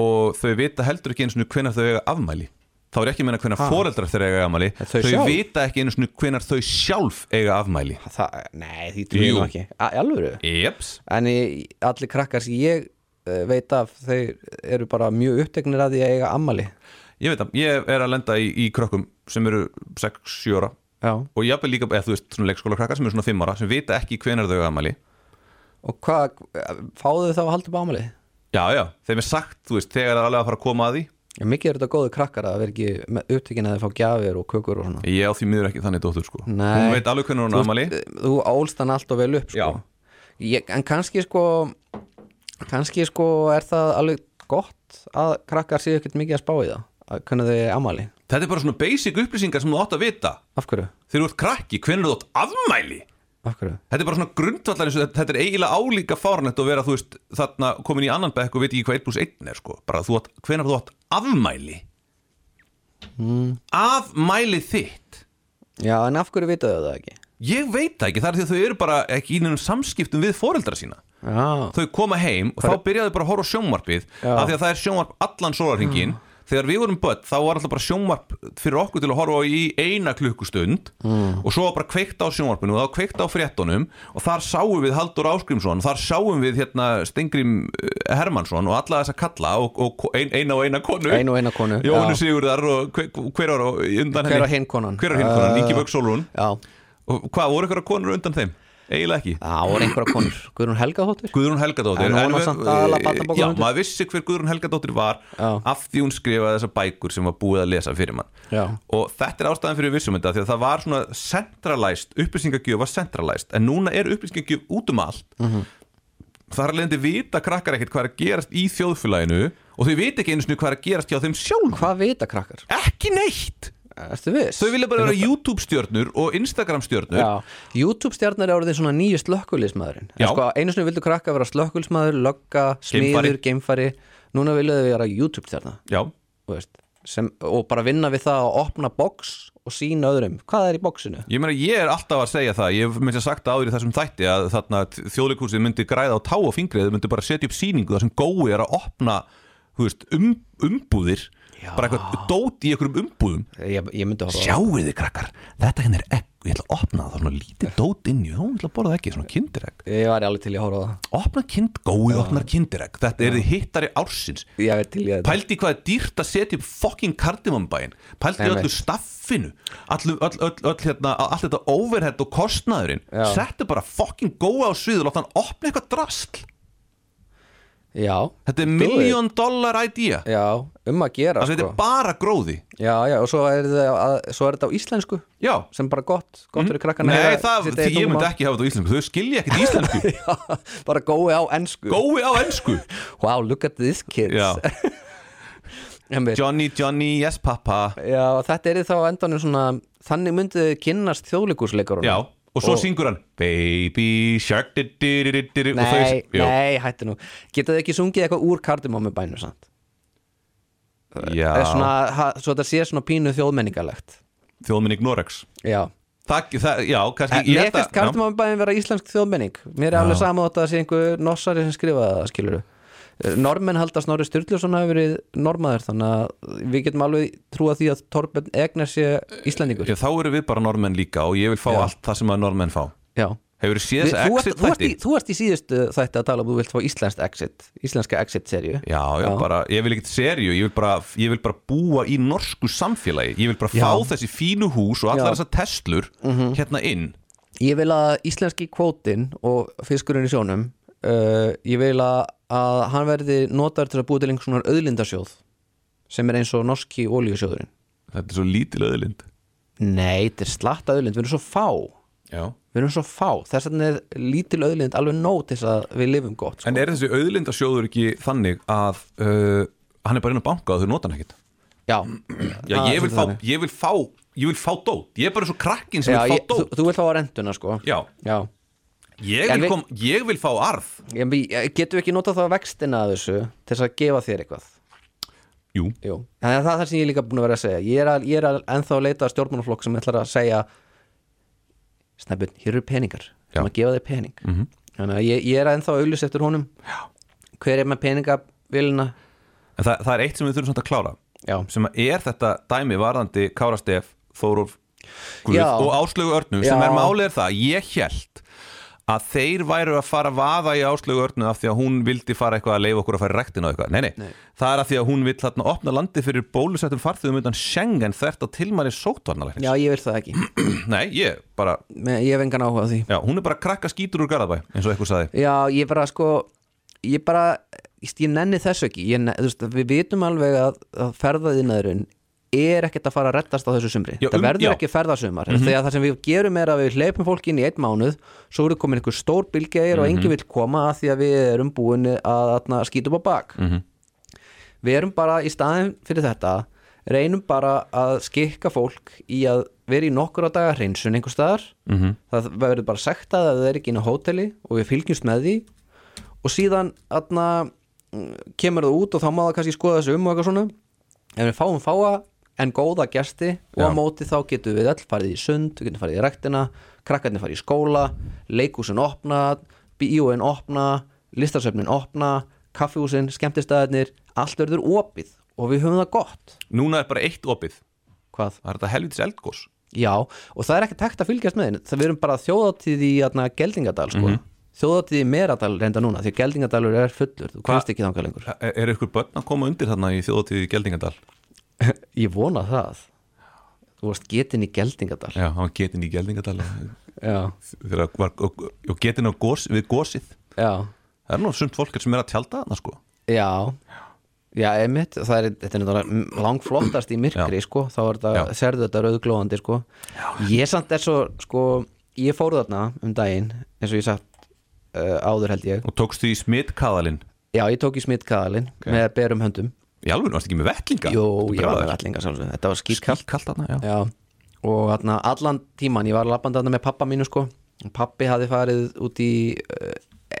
S2: og þau vita heldur ekki eins og hvenar þau eiga afmæli þá er ég ekki að menna hvenar foreldrar þeirra eiga afmæli
S1: En
S2: þau,
S1: þau sjálf?
S2: vita ekki einu svona hvenar þau sjálf eiga afmæli
S1: það, nei, því trúið
S2: Jú.
S1: nú ekki A- í alvöru,
S2: Jeps
S1: en ég, allir krakkar sem ég eh, veit af, þeir eru bara mjög uppteknir að því að eiga ammali
S2: Ég veit það, ég er að lenda í, í krökkum sem eru 6-7 ára
S1: já.
S2: og jafnvel líka, eða þú veist, svona leikskóla krakkar sem eru svona 5 ára sem vita ekki hvenar þau eiga afmæli
S1: og hvað, fáðu þau þá að halda upp ammali?
S2: Já, já, þeim er sagt, þú veist, þegar það er alveg að fara að koma að því
S1: Já, mikið eru þetta góðu krakkar að vera ekki með upptekinn að þau fá gjafir og kökur og svona
S2: Ég á því miður ekki þannig dóttur, sko
S1: Nei.
S2: Hún veit alveg hvenar hún
S1: Þú-
S2: er afmæli
S1: þú ólst hann alltaf vel upp sko.
S2: Já.
S1: ég, en kannski sko kannski sko er það alveg gott að krakkar séu ekkert mikið að spá í það að kunna þau ammali,
S2: Þetta er bara svona basic upplýsingar sem þú átt að vita
S1: af hverju?
S2: Þegar þú ert krakki, hvenar þú átt afmæli
S1: af hverju?
S2: Þetta er bara svona grundvallar eins og þetta, þetta er eiginlega álíka fárnett að vera, þú veist, þarna komin í annan bekk og veit ekki hvað 1 plus 1 er, sko bara þú átt, hvenar þú átt afmæli mm. Afmæli þitt
S1: já, en af hverju vitaðu þau það ekki?
S2: Ég veit það ekki, það er því að þau eru bara ekki í nefnum samskiptum við foreldra sína
S1: já,
S2: Þau koma heim og þá byrjaðu bara að horfa á sjónvarpið
S1: Já. Mm.
S2: af því að það er sjónvarp allan sólarhingin Þegar við vorum börn þá var alltaf bara sjónvarp fyrir okkur til að horfa á í eina klukkustund mm. og svo var bara kveikt á sjónvarpinu og þá kveikt á fréttunum og þar sáum við Haldur Áskrimsson og þar sáum við hérna Stengrim Hermansson og alla þessa kalla og, og ein, eina og eina konu
S1: Eina og eina konu,
S2: Jónu
S1: já.
S2: Sigurðar og hver, hver var á undan
S1: Hver var
S2: henni?
S1: hin konan?
S2: Hver var hinn konan?
S1: Uh,
S2: Ingi Bögg Solrún
S1: já,
S2: Og hvað, voru ykkur konur undan þeim? Eiginlega ekki
S1: það voru einhverja konur Guðrún Helgadóttir?
S2: Guðrún Helgadóttir
S1: En hún var
S2: En við- Eh,
S1: samt aðallega barnabókahöfundur.
S2: Já, maður vissi hver Guðrún Helgadóttir var
S1: Já.
S2: af því hún skrifaði þessar bækur sem var búið að lesa fyrir mann
S1: Já.
S2: og þetta er ástæðan fyrir vissum þetta því að það var svona centralæst upplýsingagjöf var centralæst en núna er upplýsingagjöf út um allt
S1: Mhm.
S2: þar er leiðandi vita krakkar ekkert hvað er að gerast í þjóðfélaginu og þau vita ekki einu sinni hvað er að gerast hjá þeim sjálf
S1: hvað vita krakkar?
S2: ekki neitt
S1: Ertu viss?
S2: þau vilja bara vera YouTube stjörnur og Instagram stjörnur
S1: Já, YouTube stjarnar eru orðið svona nýju slökkulismæðurinn
S2: Já.
S1: en sko einu sinni vildu krakka vera slökkulismæður lögga, smiður, geimfari núna vilja þau vera YouTube stjarnar
S2: Já.
S1: þú veist, sem, og bara vinna við það að opna box og sína öðrum hvað er í boxinu
S2: Ég meina, ég er alltaf að segja það, ég hef myndi að sagt það áður í þessum þætti að þarna þjóðleikúrsið myndi græða á tá og fingrið, myndi bara setja upp sýningu þar sem gói er að opna, þú veist, um, umbúðir, bara eitthvað dót í einhverjum umbúðum.
S1: ég, ég myndi horfa á það.
S2: Sjáuði krakkar, þetta henni er egg, ég ætla að opna það, það er svona lítið dót inn í, þá ætla að borða ekki, svona kindiregg.
S1: ég var alveg til í að horfa á það
S2: Opna kind, gói opnar kindiregg, þetta er þið hittari ársins.
S1: ég er til í að
S2: Pældi hvað er dýrt að setja upp fucking kardimanbæin Pældi
S1: Einmitt.
S2: öllu staffinu all, all, all, all, hérna, Allt þetta overhead og kostnaðurinn
S1: Já.
S2: Settu bara fucking góa á sviðu Látt hann opna eitthvað drasl
S1: já,
S2: Þetta er
S1: Do
S2: million dollar idea
S1: it. já, um að gera
S2: Það þetta
S1: sko.
S2: er bara gróði
S1: já, já, og svo er, það, að, svo er þetta á íslensku
S2: Já
S1: sem bara gott, gott fyrir krakkana
S2: Nei,
S1: að
S2: það,
S1: sitja í
S2: því ég myndi
S1: tungumál.
S2: ekki hafa þetta á íslensku Þau skilja ekkert íslensku
S1: bara gói á ennsku
S2: Gói á ensku
S1: wow, look at this kids
S2: Já.
S1: Einmitt.
S2: Johnny, Johnny, yes papa
S1: Já, þetta er þá á endanum svona þannig myndið þið kynnast þjóðleikúsleikarunum
S2: Já, og svo
S1: Og-
S2: syngur hann Baby shark di, di, di, di, di, og
S1: Nei,
S2: þau- Jú.
S1: nei, hættu nú Getið þið ekki sungið eitthvað úr kardimámubænum samt?
S2: Já,
S1: Er Svona, ha, svo þetta sé svona pínu þjóðmenningalegt
S2: þjóðminning Norex
S1: Já
S2: Takk, það, já,
S1: En
S2: kannski
S1: Eh,
S2: ég
S1: Mér
S2: held að-
S1: finnst kardimámubæn vera íslensk þjóðmenning Mér er alveg sama þótt að það sé einhver norsari sem skrifaði það, skilur Normen halda Snorri Sturluson hafi verið normaður þannig að við getum alveg trúa því að Torben Egner sé Íslendingur
S2: Já, þá eru við bara normenn líka og ég vil fá
S1: Já.
S2: allt það sem að normenn fá
S1: Já
S2: Hefur þið séð
S1: Við-
S2: þess
S1: þú, ert,
S2: exit
S1: þú, ert
S2: þætti?
S1: í, þú ert í síðustu þætti að tala um að þú vilt fá íslenskt exit íslenska exit-serju
S2: Já, já, bara, ég vil ekkert serju, ég vil, bara, ég vil bara búa í norsku samfélagi Ég vil bara
S1: Já.
S2: fá þessi fínu hús og
S1: Já. Mhm.
S2: allar þessar teslur hérna inn
S1: ég vil að íslenski kvótin og fiskurinn í sjónum uh, ég vil að, að hann verði notar til að búa til einhvers svona auðlindasjóð sem er eins og norski ólíusjóðurinn
S2: Þetta er svo lítil öðlind
S1: nei, þetta er slatta auðlind, við erum svo fá
S2: Já
S1: við erum svo fá, þess að er lítil auðlind alveg nót þess að við lifum gott sko.
S2: En er þessi auðlindasjóður ekki þannig að uh, hann er bara inn á banka og þau nota hann ekkert
S1: já, Það
S2: Já,
S1: Ah, er
S2: ég vil,
S1: svolítið
S2: fá,
S1: þannig.
S2: ég vil fá, ég vil fá dót Ég er bara svo krakkin sem
S1: já,
S2: vil fá
S1: ég, þú,
S2: dót
S1: þú vilt fá að rentuna sko
S2: Já,
S1: já. En
S2: ég vil,
S1: við-
S2: kom, ég vil fá arð
S1: Ég, getum við ekki notað þá vextina að þessu til þess að gefa þér eitthvað
S2: Jú,
S1: Jú. Þannig að það er það sem ég er líka búin að vera að segja Ég er, að, ég er að ennþá að leita að stjórnmálaflokk sem ætlar að segja Snæbjörn, hér eru peningar
S2: Já.
S1: sem að gefa þér pening -hmm. Þannig að ég, ég er að ennþá að auðlýsa eftir honum Já. Hver er með peningavélina
S2: En það, það er eitt sem við þurfum samt að klára
S4: Já.
S2: sem að er þetta dæmi varðandi Kára Stef, Þóruf Guð
S1: Já.
S2: og Áslögu Örnu
S1: Já.
S2: sem er málið er það, ég held að þeir væru að fara að vaða í Áslögu Örnu af því að hún vildi fara eitthvað að leifa okkur að fara í rektina og eitthvað, nei, nei, það er af því að hún vill þarna opna landið fyrir bólusettum farþugum undan Schengen þvert á tilmæli sótvarnalæknis
S1: Já, ég vil það ekki
S2: Nei, ég bara,
S1: Me- Ég hef engan áhuga á því
S2: já, hún er bara krakka skítur úr Garðabæ eins og eitthvað sagði,
S1: Já, ég bara sko ég bara, ég ég nenni þessu ekki ég, ne- þú veist, við vitum alveg að, að ferðaðinaðurinn er ekkert að fara að rettast á þessu sumri
S2: Já,
S1: það
S2: um-
S1: verður
S2: já. Mhm.
S1: ekki ferðasumar mm þegar það sem við gerum er að við hleypum fólki inn í einn mánuð svo eru komin einhver stór bylgeir og
S2: Mhm.
S1: enginn vill koma að því að við erum búin að, að skýta upp á bak
S2: Mhm.
S1: við erum bara í staðin fyrir þetta reynum bara að skikka fólk í að vera í nokkura daga hreinsun einhver staðar
S2: Mhm.
S1: það verður bara sektað að það er ekki inn á hóteli og við fylgjumst með því og síðan atna, kemur það út og þá má það kannski skoða þessu um og eitthvað svona en við fáum fáa en góða gesti og á
S2: Já.
S1: móti þá getum við all farið í sund við getum farið í rektina, krakkarnir farið í skóla leikúsin opna bíóin opna, listasöfnin opna kaffihúsin, skemmtistæðarnir allt verður opið og við höfum það gott
S2: núna er bara eitt opið
S1: hvað?
S2: það er þetta helvitis eldgós
S1: Já, og það er ekki takt að fylgjast með henni það við erum bara þjóðatíð í atna, Geldingadal sko.
S2: Mhm.
S1: þjóðatíð í Meradal reynda núna því að Geldingadalur er fullur, þú kemst ekki þangar lengur
S2: Er, er ykkur e, börn að koma undir þarna í þjóðatíði í Geldingadal?
S1: Ég vona það Þú varst getinn í Geldingadal
S2: Já, hann var getinn í Geldingadal
S1: Já,
S2: þegar var, og, og getinn á gos, við gosið
S1: já,
S2: Það er nú sumt fólk sem er að tjálta þarna sko
S1: já Já, emitt, það er, þetta er náttúrulega langflottast í myrkri, sko, þá er þetta,
S2: Já.
S1: serðu þetta rauðglóðandi, sko Ég samt er svo, sko, ég fór þarna um daginn, eins og ég sagt uh, áður held ég
S2: og tókstu í smittkaðalinn
S1: Já, ég tók í smittkaðalinn með berum höndum
S2: Í alveg, varst ekki með vettlinga?
S1: Jó, ég var með allinga sjálfsög Þetta var skýrkallt
S2: Kallt þarna, já.
S1: Já. Og atna, allan tíman, ég var lappandi þarna með pappa mínu sko Pappi hafði farið út í uh,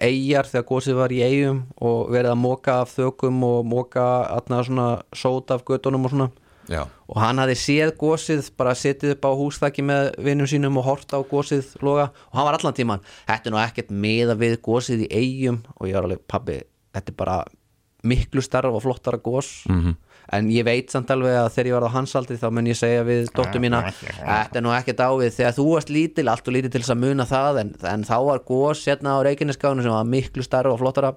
S1: eigjar þegar gósið var í eigum og verið að móka af þökum og móka atna, svona, sót af götunum og svona
S2: já
S1: og hann hafði séð gósið bara setið upp á húsþakki með vinnum sínum og hort á gósið loga og hann var allan tíman þetta er nú ekkert meða við gósið í eigum og ég var alveg pabbi þetta er bara miklu starf og flottara gós -hmm. en ég veit samt alveg að þegar ég varð á hansaldi þá mun ég segja við dóttur mína þetta er nú ekkert ávið þegar þú varst lítil allt og lítil til þess að muna það en, en þá var gós hérna á reikinneskáðinu sem var miklu starf og flottara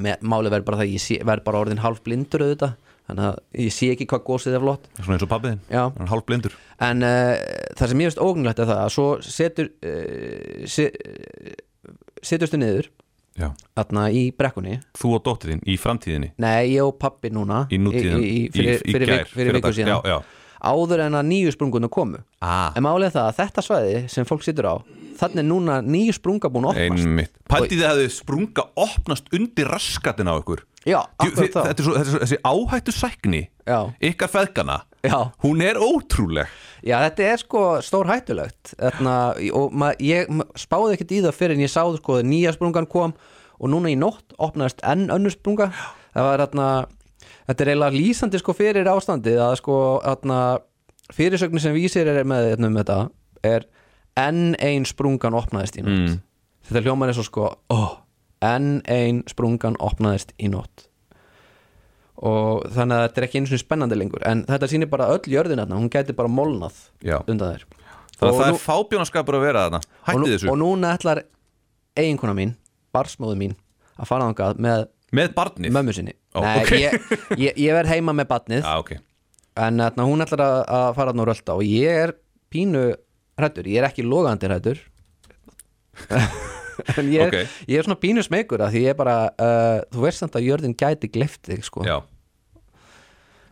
S1: með, málið verð bara það að ég sé- verð bara orðin hálf blindur auðvitað þannig að ég sé ekki hvað gósið er flott
S2: Svona eins og pabbiðin,
S1: Já.
S2: hann er hálf blindur
S1: en uh, það sem ég veist ógnulegt er það að svo setur uh, se, seturstu niður
S2: Já
S1: þarna í brekkunni
S2: Þú og dóttir þín í framtíðinni
S1: nei, ég og pappi núna
S2: Í nútíðin,
S1: í, í, fyrir,
S2: í
S1: fyrir,
S2: gær,
S1: vik, fyrir viku
S2: fyrradag.
S1: síðan
S2: Já, já.
S1: áður en að nýju sprunguna komu
S2: Ah,
S1: en málið er það að þetta svæði sem fólk situr á þannig er núna nýju sprunga búin að opnast
S2: einmitt Pætti þið hafði sprunga opnast undir raskatina á ykkur
S1: já,
S2: Þi- þi-
S1: akkurat
S2: Þetta
S1: þá
S2: er svo, þetta er svo, þessi áhættu sækni
S1: Já.
S2: Ykkar feðgana
S1: Já.
S2: Hún er ótrúleg
S1: já, þetta er sko stór hættulegt þarna, og ma, ég ma- spáði ekkert í það fyrir en ég sáði sko að nýja sprungan kom og núna í nótt opnaðist enn önnur sprunga það var þarna þetta er eiginlega lýsandi sko fyrir ástandið að sko þarna fyrirsögnin sem vísir er með þarna um þetta er enn ein sprungan opnaðist í nótt þetta hljómar er svo sko oh, enn ein sprungan opnaðist í nótt og þannig að þetta er ekki einu svona spennandi lengur en þetta sýnir bara öll jörðin þarna hún gæti bara molnað
S2: Já.
S1: undan þér
S2: Þannig að
S1: Og
S2: það
S1: nú-
S2: er fábjónaskapur að vera þarna
S1: og, nú-
S2: Hætti þessu
S1: og núna ætlar eiginkona mín, barsmóðu mín að fara þangað með
S2: Með barnið
S1: mömmu sinni
S2: Ó,
S1: Nei,
S2: ok.
S1: ég, ég, ég verð heima með batnið
S2: Já, ok
S1: en þarna, hún ætlar að, að fara þarna og rölda og ég er pínu hrættur, ég er ekki logandi hrættur en ég er,
S2: Ok.
S1: ég er svona pínu smekur að því ég er bara, uh, þú veist samt að jörðin gæti gleypt þig sko
S2: Já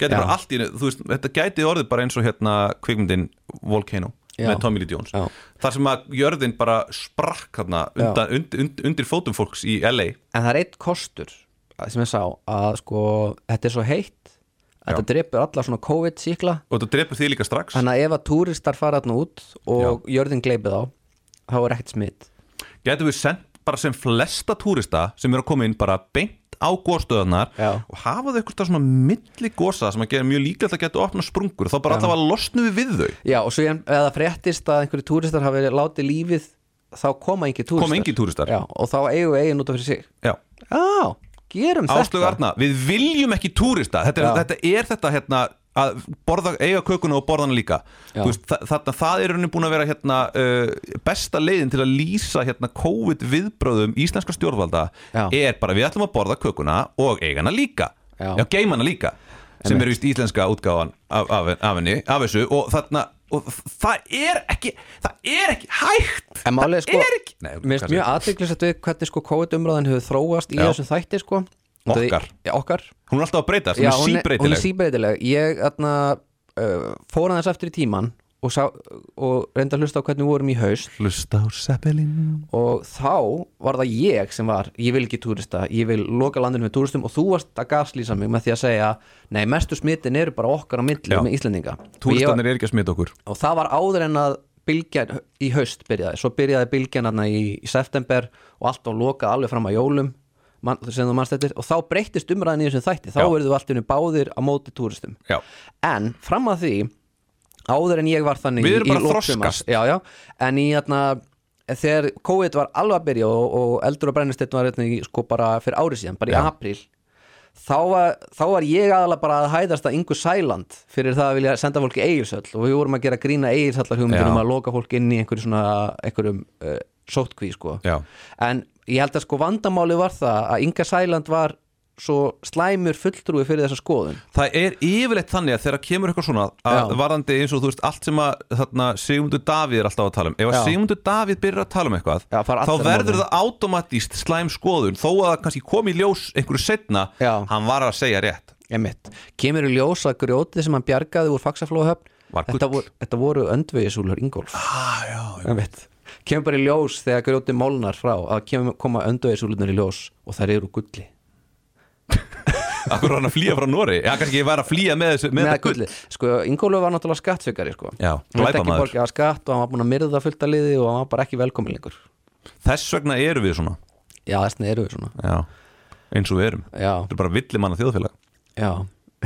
S2: Gæti
S1: Já.
S2: bara allt í einu, þú veist, þetta gæti orðið bara eins og hérna kvikmyndin Volcano
S1: Já.
S2: með Tommy Lee Jones
S1: Já.
S2: Þar sem að jörðin bara sprakk hérna undan, und, und, undir fótum fólks í LA
S1: en það er eitt kostur að- sem ég sá að sko þetta er svo heitt að
S2: Já.
S1: þetta drepur alla svona COVID-síkla
S2: og þetta drepur því líka strax
S1: þannig að ef að túristar fara þarna út og jörðin gleipið á þá er ekkert smitt
S2: Gæti við sendt bara sem flesta túrista sem eru að koma inn bara beint á góðstöðunar
S1: Já.
S2: og hafa þau eitthvað svona milli gósa sem að gera mjög líklegt að geta opna sprungur þá bara allavega losnum við við þau
S1: já og svo ef það fréttist að einhverju túristar hafi látið lífið þá koma engin túristar
S2: Koma engir túristar.
S1: já, og þá eigum við eigin út af fyrir sig
S2: Já
S1: já, gerum
S2: Áslögu
S1: þetta
S2: Arna, við viljum ekki túrista þetta er
S1: Já.
S2: þetta, er þetta hérna að borða, eiga kökuna og borða hana líka
S4: Já.
S2: Þú veist, þa þarna, það er raunin búin að vera hérna, uh, besta leiðin til að lýsa hérna, COVID viðbröðum íslenska stjórnvalda
S4: Já.
S2: er bara við ætlum að borða kökuna og eiga hana líka
S4: Já.
S2: já geima hana líka sem er vist íslenska útgáfan af, af, af henni, af þessu og þarna og það er ekki það er ekki hægt
S4: En málið er sko-
S2: það er ekki Nei,
S1: Mér finnst
S2: kannski-
S1: mjög aðdeglisat við hvernig sko COVID-umræðan hefur þróast í
S2: Já.
S1: þessum þætti sko Því-
S2: Okkar.
S1: Já, okkar
S2: hún er alltaf að breyta, hún
S1: Já,
S2: er
S1: hún er, hún er
S2: síbreytileg
S1: síbreytileg Ég atna, uh, fór aðeins aftur í tíman og, sá, og reyndi að hlusta á hvernig við vorum í haust
S2: hlusta á Seppelin
S1: og þá var það ég sem var ég vil ekki túrista, ég vil loka landinu með túristum og þú varst að gaslýsa mig með því að segja nei, mestu smittin eru bara okkar á milli
S2: Já.
S1: með Íslendinga Og ég var-
S2: túristanir er ekki að smita okkur
S1: og það var áður en að bylgjan í haust byrjaði, svo byrjaði bylgjan þarna í, í september og allt á lokað alveg fram að jólum man, sem þú manst eftir og þá breyttist umræðin í þessum þætti, þá
S2: Já.
S1: verðu allt unni báðir á móti túristum
S2: Já.
S1: en fram að því áður en ég var þannig
S2: Við erum
S1: í- í
S2: bara að
S1: lok sumars.
S2: þroskast.
S1: já, já, en í þarna þegar COVID var alveg að byrja og, og eldur og brennistinn var hérna, í, sko bara fyrir ári síðan, bara í
S2: Já.
S1: apríl þá var, þá var ég aðalega bara að hæðast að yngu sæland fyrir það að vilja senda fólki eigilsöll og við vorum að gera grína eigilsallar hugmyndunum
S2: Já.
S1: að loka fólk inn í einhverju svona einhverjum uh, sótkví sko
S2: Já.
S1: en ég held að sko vandamáli var það að ynga sæland var svo slæmur fulltrúi fyrir þessa skoðun
S2: Það er yfirleitt þannig að þegar kemur eitthvað svona að
S1: Já.
S2: varðandi eins og þú veist allt sem að þarna, Sigmundur Davíð er alltaf að tala um ef að
S1: Já.
S2: Sigmundur Davíð byrjar að tala um eitthvað
S1: Já, fara
S2: þá
S1: allir á
S2: verður
S1: morgun.
S2: það automatíst slæm skoðun þó að það kannski kom í ljós einhverju setna
S1: Já.
S2: hann var að segja rétt
S1: Einmitt. kemur í ljós að grjótið sem hann bjargaði úr faksaflóðhöfn
S2: Var
S1: þetta,
S2: gull.
S1: vor, þetta voru öndvegisúlur Ingolf
S2: ah, já,
S1: Einmitt. kemur bara í ljós þegar grjótið mólnar frá að kemur, koma öndvegisúlunar í ljós og þær eru úr gulli
S2: Akkur var hann að flýja frá Nóri Já, kannski ég var að flýja með, þessu, með,
S1: Með
S2: þetta gull
S1: gullið. sko, Ingólfur var náttúrulega skattsveikari sko.
S2: Já,
S1: hann veit ekki
S2: glæpamaður.
S1: borgið af skatt og hann var búin að myrða fullt að liði og hann var bara ekki velkomin lengur
S2: Þess vegna erum við svona
S1: já, þessna eru við svona
S2: já. eins og við erum
S1: já,
S2: Þetta er bara villimanna þjóðfélag
S1: já.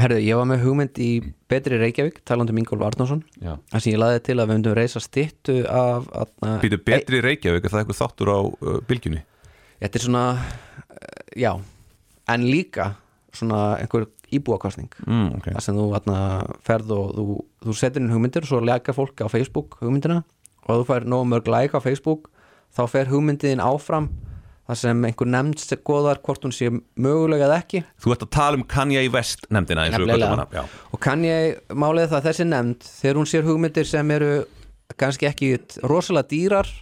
S1: herðu, ég var með hugmynd í Betri Reykjavík talandi um Ingólfur Arnason
S2: Já.
S1: þar sem ég laði til að við myndum reisa styttu af atna,
S2: Býtu betri í Reykjavík er það eitthvað þáttur á uh, bylgjunni
S1: Þetta er svona eh, Já, en líka svona einhver íbúakostning
S2: mm, okay.
S1: það sem þú atna, ferð og þú, þú setur inn hugmyndir og svo lækar fólk á Facebook hugmyndina og þú fær nógu mörg læk á Facebook þá fer hugmyndiðin áfram þar sem einhver nefnd sem goðar hvort hún sé mögulega eða ekki
S2: Þú ert að tala um Kanye West nefndina eins og við köllum hana.
S1: Nefnilega.
S2: Já.
S1: og kann ég málið það að þessi nefnd þegar hún sér hugmyndir sem eru kannski ekki rosalega dýrar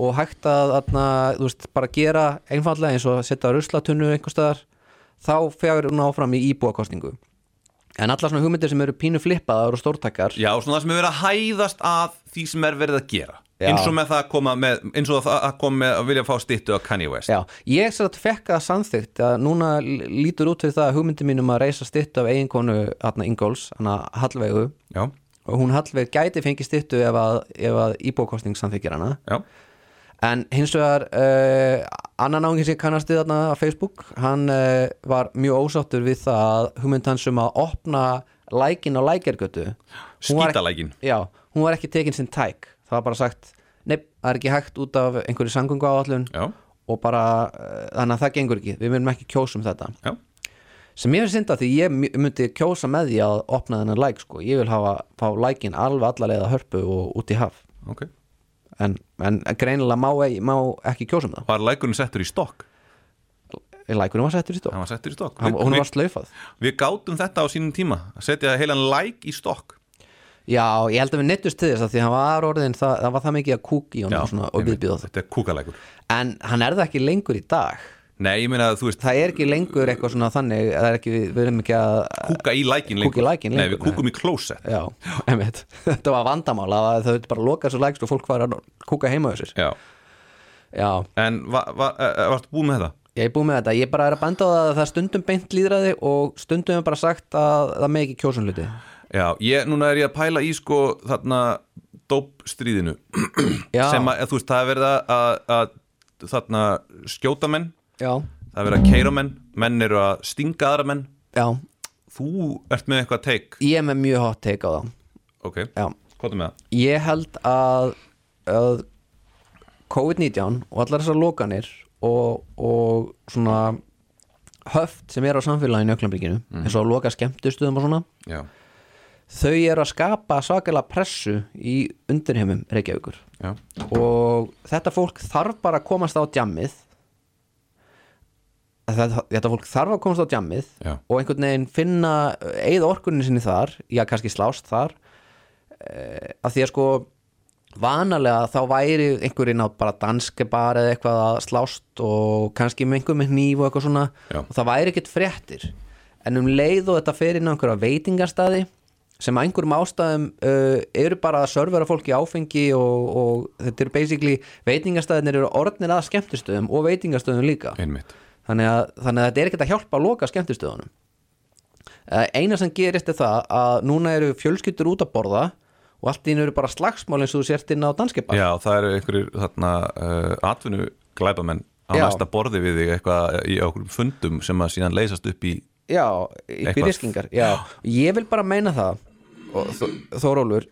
S1: og hægt að atna, veist, bara gera einfallega eins og að setja ruslatunnu einhver staðar þá fjár hún áfram í íbúakostningu en allar svona hugmyndir sem eru pínu flippaðar og stórtakar
S2: Já, svona það sem er verið að hæðast að því sem er verið að gera
S1: Já.
S2: eins og með það að koma með eins og það að koma með að vilja fá stýttu á Kanye West
S1: Já, ég sér að fekk það samþygt að núna l- lítur út fyrir það að hugmyndin mínum að reisa stytt af eiginkonu atna, Ingols, hann að Hallveigu
S2: Já,
S1: og hún Hallveig gæti fengið styttu ef að, ef að íbúakostning samþykir hana
S2: já,
S1: En hins vegar uh, annan ángin sem ég kannast við þarna á Facebook hann uh, var mjög ósáttur við það að hugmynd hans um að opna lækin á lækergötu Hún var ekki-
S2: Skítalækin.
S1: Já, hún var ekki tekin sinn tæk það var bara sagt, neip, það er ekki hægt út af einhverju sangungu áallun
S2: já,
S1: og bara, uh, þannig að það gengur ekki við myndum ekki kjósa um þetta
S2: já
S1: sem ég er synda því ég my- myndi kjósa með því að opna þennan læk sko, ég vil hafa fá lækin alveg allalega hörpu og út í haf
S2: Ok,
S1: en, en greinilega má, ei- má ekki kjósa um það
S2: var lækurinn settur í stokk?
S1: lækunum var settur í stokk
S2: Hann var settur í stokk
S1: Hann-
S2: Við-
S1: hún
S2: við-
S1: var slaufað
S2: Við gátum þetta á sínum tíma að setja heilan læk í stokk
S1: já, ég held að við neittust til þess að því hann var orðin það, það var það mikið að kúk í honum og svona, og
S2: einmitt.
S1: viðbjóð
S2: Þetta er kúkalækur
S1: en hann er það ekki lengur í dag
S2: Nei, ég meina að þú veist,
S1: það er ekki lengur eitthvað svona þannig það er ekki, við, við erum ekki að
S2: kúka í lækin lengur
S1: Kúka í lækinn
S2: Nei,
S1: lengur,
S2: við kúkum í klósett
S1: já, einmitt, þetta var vandamál að þau vildu bara loka þessu lækst og fólk var að kúka heima á þessir
S2: Já,
S1: já,
S2: en var, var, var, eh, varstu búin með það?
S1: ég er búið með þetta, ég bara er að benda á það að það er stundum beint líðræði og stundum er bara sagt að það með ekki kjósun hluti
S2: Já, ég, núna er ég að pæla í sko þarna dópstríðinu
S1: já,
S2: sem að, þú veist, það er verið að, að, að þarna skjóta menn
S1: já,
S2: það er verið að keira menn, menn eru að stinga aðra menn,
S1: já,
S2: þú ert með eitthvað teik,
S1: ég er með mjög hot take á það
S2: ok,
S1: já,
S2: hvað er með það?
S1: ég held að, að COVID-19 og allar þessar lokanir og, og svona
S2: Mhm.
S1: höft sem er á samfélaginu í öklambygginu eins og að loka skemmtustuðum og svona
S2: Já,
S1: þau eru að skapa svakalega pressu í undirheimum Reykjavíkur
S2: já,
S1: og þetta fólk þarf bara að komast á djammið þetta, þetta fólk þarf að komast á djammið
S2: Já.
S1: og einhvern veginn finna eigða orkunni sinni þar, já kannski slást þar eh, að því að sko vanalega þá væri einhverjinn á bara danske bar eða eitthvað að slást og kannski með einhver með hníf og eitthvað svona
S2: Já.
S1: og það væri ekkert fréttir en um leið og þetta fer inn á einhverja veitingarstaði sem að einhverjum ástæðum uh, eru bara að servera fólki áfengi og, og þetta eru basically veitingarstaðinir eru orðnir að skemmtistöðum og veitingarstöðum líka
S2: einmitt
S1: þannig að, þannig að þetta er ekkert að hjálpa að loka skemmtistöðunum Eh, eina sem gerist er það að núna eru fjölskyldur út að borða og allt í einu eru bara slagsmál eins og þú sért inn á danskipa
S2: Já, það eru einhverjir þarna uh, atvinnu glæbamenn á
S1: Já.
S2: næsta borði við þig eitthvað uh, í okkur fundum sem að síðan leysast upp í
S1: já ykkur
S2: Eitthvað.
S1: riskingar já. ég vil bara meina það og Þó- Þórólfur,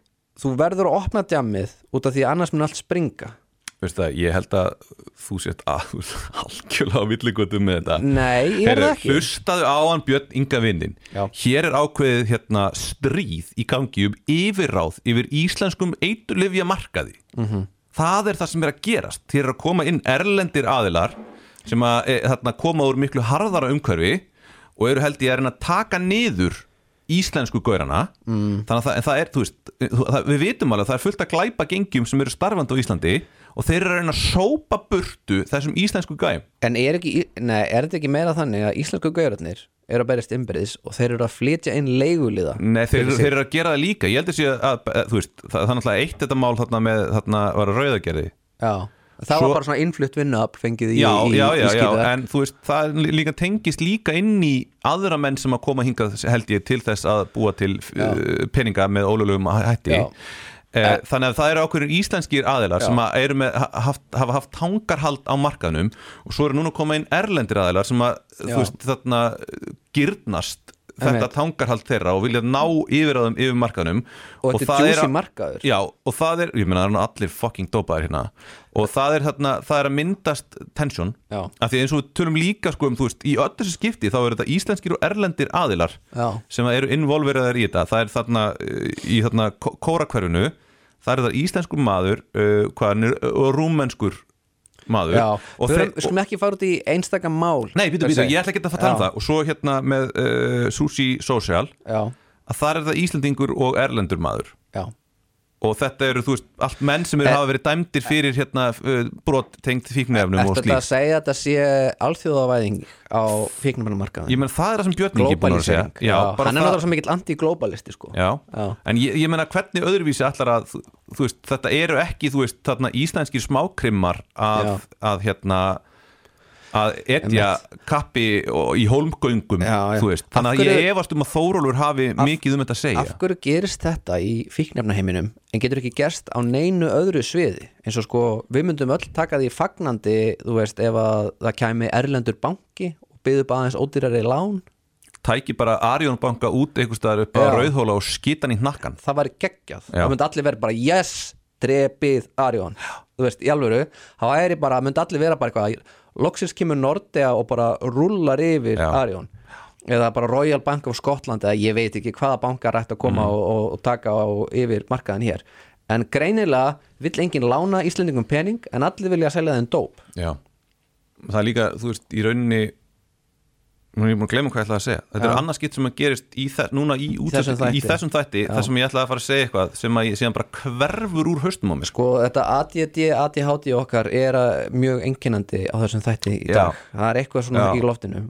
S1: þú verður að opna djammið út af því að annars mun allt springa
S2: veist það, ég held að þú sért að þú ert algjörlega á villigutum með þetta
S1: Nei, ég er
S2: Heyrðu,
S1: það ekki.
S2: Hlustaðu á hann Björn Inga vinnin
S1: Já.
S2: Hér er ákveðið hérna stríð í gangi um yfirráð yfir íslenskum eiturlifja markaði
S1: Mhm.
S2: -hmm. Það er það sem er að gerast Þér er að koma inn erlendir aðilar sem að e, þarna, koma úr miklu harðara umhverfi og eru held ég að reyna að taka niður íslensku gaurana mm. þannig að það, en það er, þú veist e, þú- það, við vitum alveg að það er fullt að glæpa gengjum sem eru starfandi á Íslandi og þeir eru að reyna að sópa burtu þessum íslensku gæm
S1: En er, ekki, nei, er þetta ekki meira þannig að íslensku gaurarnir eru að berjast innbyrðis og þeir eru að flytja inn leiguliða
S2: Nei, þeir,
S1: fyrir sig?
S2: þeir eru að gera það líka Ég held að sé að, að þú veist, það, það er náttúrulega eitt þetta mál þarna með, þarna var að rauðagerði
S1: Já, það
S2: Svo-
S1: var bara svona innflutt vinnuafl fengið í,
S2: Já,
S1: í,
S2: já,
S1: í
S2: já, já,
S1: skýta
S2: en þú veist, það er líka tengist líka inn í aðra menn sem að koma hingað held ég til þess að búa til uh, peninga með ólöglegum hætti
S1: Já.
S2: Eh, Þannig að það eru ákveður íslenskir aðilar sem að eru með, ha- haft, hafa haft tangarhald á markaðnum og svo eru núna að koma inn erlendir aðilar sem að,
S1: Já.
S2: þú veist, þarna eh, girnast þetta
S1: Einmitt.
S2: tangarhald þeirra og vilja ná yfirraðum yfir markaðnum
S1: Og þetta er
S2: það
S1: juicy
S2: að-
S1: markaður.
S2: Já, og það er, ég meina það er nú allir fucking dopaðir hérna og það er, þarna, það er að myndast tension,
S1: Já.
S2: af því eins og við tölum líka sko um, þú veist, í öll þessu skipti þá eru þetta íslenskir og erlendir aðilar
S1: Já.
S2: sem að eru involveraðar í þetta það er þarna eh, í þarna kó- kórakverfinu, það er það íslenskur maður uh, hvað hann er, og rúmenskur maður
S1: Já,
S2: og
S1: við
S2: þeir-
S1: erum- skulum ekki fara út í einstaka mál
S2: Nei, býtu, býtu,
S1: Þessi.
S2: ég ætla ekki að fara að tala um
S1: Já.
S2: það og svo hérna með uh, Sushi Social
S1: Já,
S2: að þar er það Íslendingur og Erlendur maður
S1: já,
S2: og þetta eru, þú veist, allt menn sem eru
S1: Eh,
S2: hafa verið dæmdir fyrir hérna uh, brot tengt fíknefnum
S1: eftir
S2: og
S1: þetta að
S2: slíkt
S1: segja að þetta sé alþjóðavæðing á fíknumarkaðin
S2: ég menn það er það sem Björn Ingi er búin að segja
S1: Globalisering, já,
S2: bara
S1: hann er náttúrulega svo mikill anti-globalisti sko
S2: Já.
S1: Já.
S2: en ég, ég menna hvernig öðruvísi allar að þú- þú veist, þetta eru ekki þú veist, þarna íslenskir smákrimmar að, að hérna að etja kappi og, í hólmgöngum
S1: Já, já.
S2: þú veist, þannig
S1: Af
S2: að ég
S1: hverju-
S2: efast um að Þórólfur hafi mikið um þetta að segja
S1: Af hverju gerist þetta í fíknefnaheiminum en getur ekki gerst á neinu öðru sviði eins og sko við myndum öll taka því fagnandi þú veist ef að það kæmi erlendur banki og byggðu bara aðeins ódýrari lán
S2: tæki bara Arjón banka út einhvers staðar upp
S1: Já.
S2: á rauðhóla og skitan í hnakkan
S1: það væri geggjað,
S2: Já.
S1: það myndi allir vera bara yes, drepið Arjón þú veist, í alvöru, það væri bara myndi allir vera bara eitthvað, loksins kemur Nordea og bara rullar yfir
S2: Já.
S1: Arjón eða bara Royal Bank of Scotland eða ég veit ekki hvaða bankar ætti að
S2: Mm.
S1: koma og, og, og taka á yfir markaðin hér en greinilega vill enginn lána Íslendingum pening en allir vilja selja þeim dóp
S2: Já Það er líka, þú veist, í rauninni Nú er ég búin að glemma hvað ég ætlaði að segja Þetta er annað skipt sem að gerist í þess, núna í, út,
S1: Þessum
S2: í
S1: þætti.
S2: þessum þætti þar sem ég ætlaði að fara að segja eitthvað sem að ég síðan bara hverfur úr haustum á mér sko.
S1: Sko þetta ADD, ADHD okkar er að- mjög enginandi á þessum þætti í dag,
S2: Já.
S1: það er eitthvað svona
S2: Já.
S1: í loftinu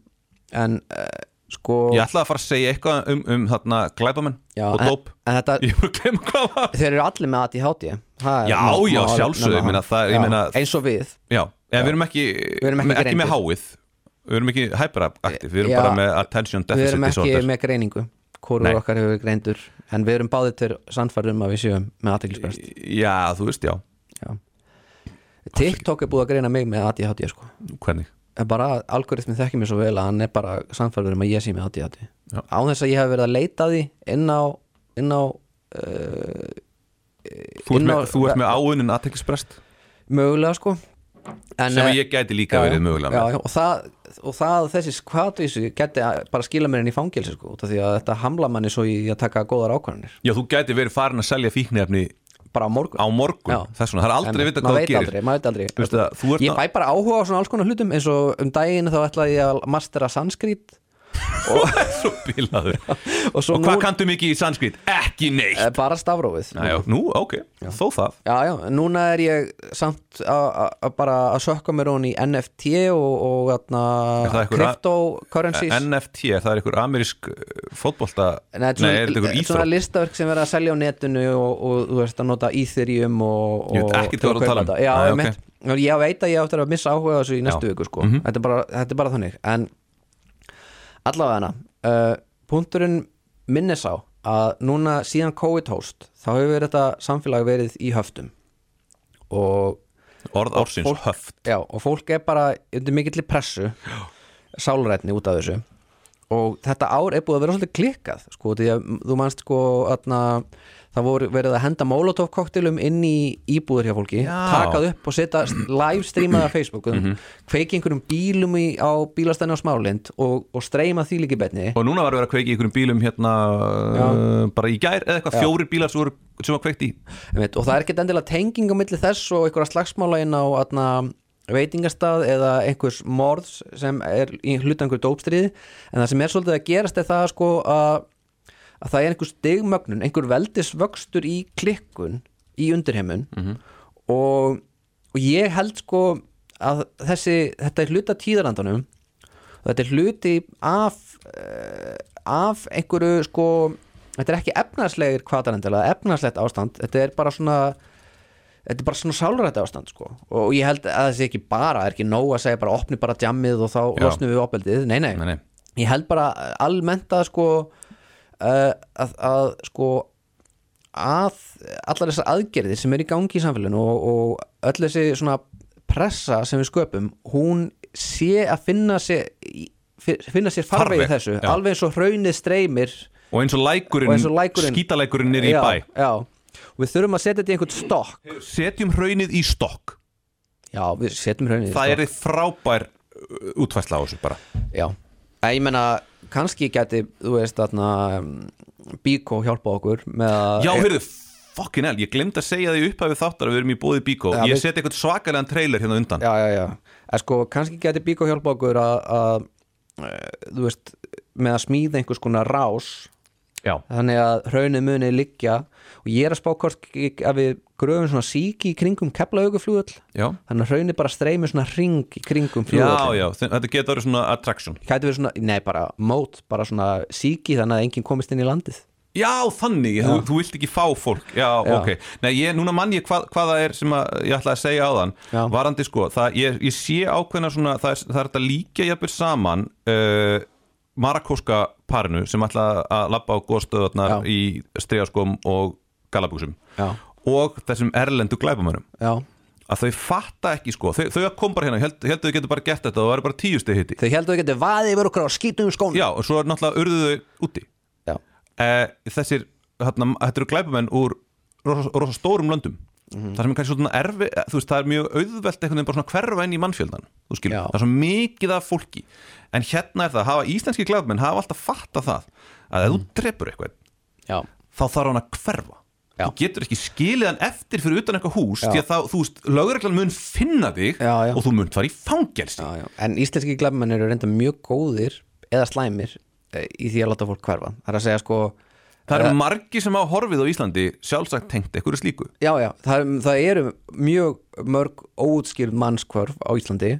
S1: en uh, sko
S2: Ég ætlaði að fara að segja eitthvað um, um þarna glæbamenn
S1: Já,
S2: og
S1: en-
S2: dóp
S1: en þetta-
S2: Ég er búin að glemma hvað var
S1: þeir eru allir með ADHD Það er-
S2: Já,
S1: má- má
S2: já,
S1: alveg
S2: sjálfsögðu,
S1: nefna
S2: ég meina,
S1: það.
S2: það er- ég
S1: Já,
S2: meina-
S1: eins og við
S2: Já, en við erum ekki, við
S1: erum ekki greindir.
S2: með háið Við erum ekki hyperaktiv, við erum
S1: Já.
S2: bara með attention
S1: við
S2: deficit
S1: erum ekki
S2: disorder
S1: með greiningu hvorur
S2: Nei.
S1: okkar hefur verið greindur en við erum báðið til sannfærum að við séum með aðteglisbrest
S2: Já, þú veist, já,
S1: TikTok er búið að greina mig með ADHD sko.
S2: hvernig
S1: En bara algoritmi þekkir mér svo vel að hann er bara sannfærum að ég sé með ADHD
S2: Já.
S1: án þess að ég hef verið að leita að því inn á, inn á uh,
S2: Þú ert
S1: Inn
S2: með,
S1: á-
S2: þú ert með áunin aðteklisbrest
S1: mögulega sko en,
S2: sem
S1: eh,
S2: að ég gæti líka verið mögulega
S1: já,
S2: með
S1: já, og, það, og það þessi kvatvísu geti að- bara skila mér inn í fangelsi sko, út af því að þetta hamla manni svo í að taka góðar ákvarðanir
S2: Já, þú gæti verið farin að selja fíknefni
S1: bara á morgun
S2: á morgun,
S1: Já.
S2: þess vegna, það er aldrei
S1: En eh,
S2: að vita
S1: maður
S2: hvað þú
S1: veit
S2: gerir
S1: aldrei, maður veit aldrei.
S2: Veistu það, þú ert
S1: ég
S2: að-
S1: fæ bara áhuga á svona alls konar hlutum eins og um daginn þá ætlaði ég að mastera sanskrit og,
S2: Svo bílaður
S1: og svo
S2: Og
S1: nú
S2: hvað kanntu mikið í sanskrit? Ekki neitt
S1: eh, bara stafrófið
S2: Næ, já, Nú, ok, þó það
S1: já, já, núna er ég samt að- að að bara að sökka mér hún í NFT og, og atna,
S2: Er það einhver að- Eh,
S1: cryptocurrencies
S2: NFT, það er einhver amerísk eh, fótbolta Nei,
S1: þetta
S2: er þetta einhver
S1: svona, svona
S2: íþrótt?
S1: listaverk sem verða að selja á netinu og, og þú veist að nota Ethereum og,
S2: Ég veit
S1: og
S2: ekkert hvað þú ert að tala um.
S1: þetta. Já,
S2: Nei,
S1: ég,
S2: ok.
S1: okay. ég veit að ég áttur að missa áhuga á þessu í næstu
S2: Já. Mhm.
S1: viku sko. þetta, er bara, þetta er bara þannig en allavega hana uh, punkturinn minni sá að núna síðan COVID hóst þá hefur þetta samfélag verið í höftum og
S2: Orð ársins
S1: fólk-
S2: höft
S1: Já, og fólk er bara undir mikill pressu sálrætni út af þessu og þetta ár er búið að vera svolítið klikkað sko, því að þú manst sko atna, það voru verið að henda molotov koktelum inn í íbúður hjá fólki
S2: Já.
S1: takað upp og setja live streamaða Facebookum, mm kveiki einhverjum bílum í, á bílastæni á smálind og, og streyma því líki betni
S2: Og núna var að vera að kveiki í einhverjum bílum hérna eh, bara í gær eða eitthvað, fjóri bílar sem, voru, sem var kveikt í
S1: Einmitt, og það er ekkert endilega tenging á milli þess og einhverja slagsmála inn á atna, veitingastað eða einhvers morðs sem er í hluta einhverju dópstríði en það sem er svolítið að gerast er það sko að, að það er einhver stigmögnun einhver veldisvöxtur í klikkun í undirheimun og, og ég held sko að þessi, þetta er hluta tíðarlandanum og þetta er hluti af uh, af einhverju sko þetta er ekki efnarslegir kvatarendala efnarslegt ástand, þetta er bara svona þetta er bara svona sálrætt ástand sko og ég held að það sé ekki bara, það er ekki nóg að segja bara opni bara djammið og þá
S2: Já.
S1: losnum við opeldið, nei nei.
S2: Nei, nei.
S1: ég held bara almennt að sko uh, að, að sko að allar þessar aðgerðir sem eru í gangi í samfélaginu og, og öll þessi svona pressa sem við sköpum hún sé að finna sér í- fi- finna sér farvegi
S2: Farveg,
S1: þessu
S2: já.
S1: alveg eins og hraunið streymir
S2: Og eins og lækurinn,
S1: og eins og lækurinn
S2: skítalækurinn er í
S1: já,
S2: bæ
S1: já. Og við þurfum að setja þetta í einhvern stokk
S2: Setjum hraunið í stokk
S1: já, við setjum hraunið í
S2: Það
S1: stokk
S2: er frábær uh, útfærsla á þessu bara
S1: já, en ég meina kannski geti, þú veist, þarna Bíkó hjálpa okkur með að
S2: Já, heyrðu, fucking hell, ég glemd að segja því upphæfið þáttar að við erum í bóði bíkó
S1: Já,
S2: Ég
S1: við-
S2: seti eitthvað svakalega trailer hérna undan
S1: já, já, já. En sko, kannski geti Bíkó hjálpa okkur að, að eh, þú veist, með að smíða einhvers konar rás
S2: Já,
S1: þannig að hraunið muni liggja og ég er að spá hvort ég- að við gröfum svona síki í kringum keplauguflúðull
S2: já
S1: þannig að hraunið bara streymi svona ring í kringum
S2: Já,
S1: flúðull
S2: já, þe- þetta getur verið svona attraction
S1: Gæti verið svona, nei bara mót, bara svona síki þannig að enginn komist inn í landið
S2: Já, þannig, Þú, þú vilt ekki fá fólk Já,
S1: Já.
S2: ok, nei, ég, núna mann ég hvað, hvað það er sem að, ég ætlaði að segja á þann
S1: Já.
S2: Varandi sko, það, ég, ég sé ákveðna svona, það er, það er þetta líka jafnvel saman uh, Marakóska parinu sem ætlaði að labba á góðstöðarnar
S1: Já.
S2: í stregaskom og galabúsum
S1: Já.
S2: og þessum erlendu glæpamönnum
S1: Já,
S2: að þau fatta ekki sko þau, þau kom bara hérna, ég held, ég held að þau getur bara gert þetta og það var bara tíu stið hitti
S1: þau heldur að geti vaðið yfir okkur á skítum skónum
S2: já og svo er náttúrulega urðu þau úti
S1: já,
S2: e, þessir, hérna, þetta eru glæpumenn úr rosa, rosa stórum löndum það sem er kannski svona erfi eh, þú veist, það er mjög auðvelt einhvern veginn bara svona hverfa inn í mannfjöldan þú skilur,
S1: Já.
S2: það er svo mikið af fólki en hérna er það, hafa íslenski glæpumenn hafa alltaf fatta það að ef þú drepur eitthvað
S1: já,
S2: þá þarf hann að hverfa
S1: Já.
S2: þú getur ekki skilið hann eftir fyrir utan eitthvað hús
S1: Já.
S2: því að þá, þú veist, lögreglan mun finna þig
S1: Já, já.
S2: og þú munt fara í fangelsi
S1: já, já. En íslenski glæfumenn eru reynda mjög góðir eða slæmir eh, í því að láta fólk hverfa Það er að segja sko
S2: það eru margi sem hafa horfið á Íslandi sjálfsagt tengt einhverju slíku
S1: Já, já, það, er- það eru mjög mörg óútskýrð mannskvörf á Íslandi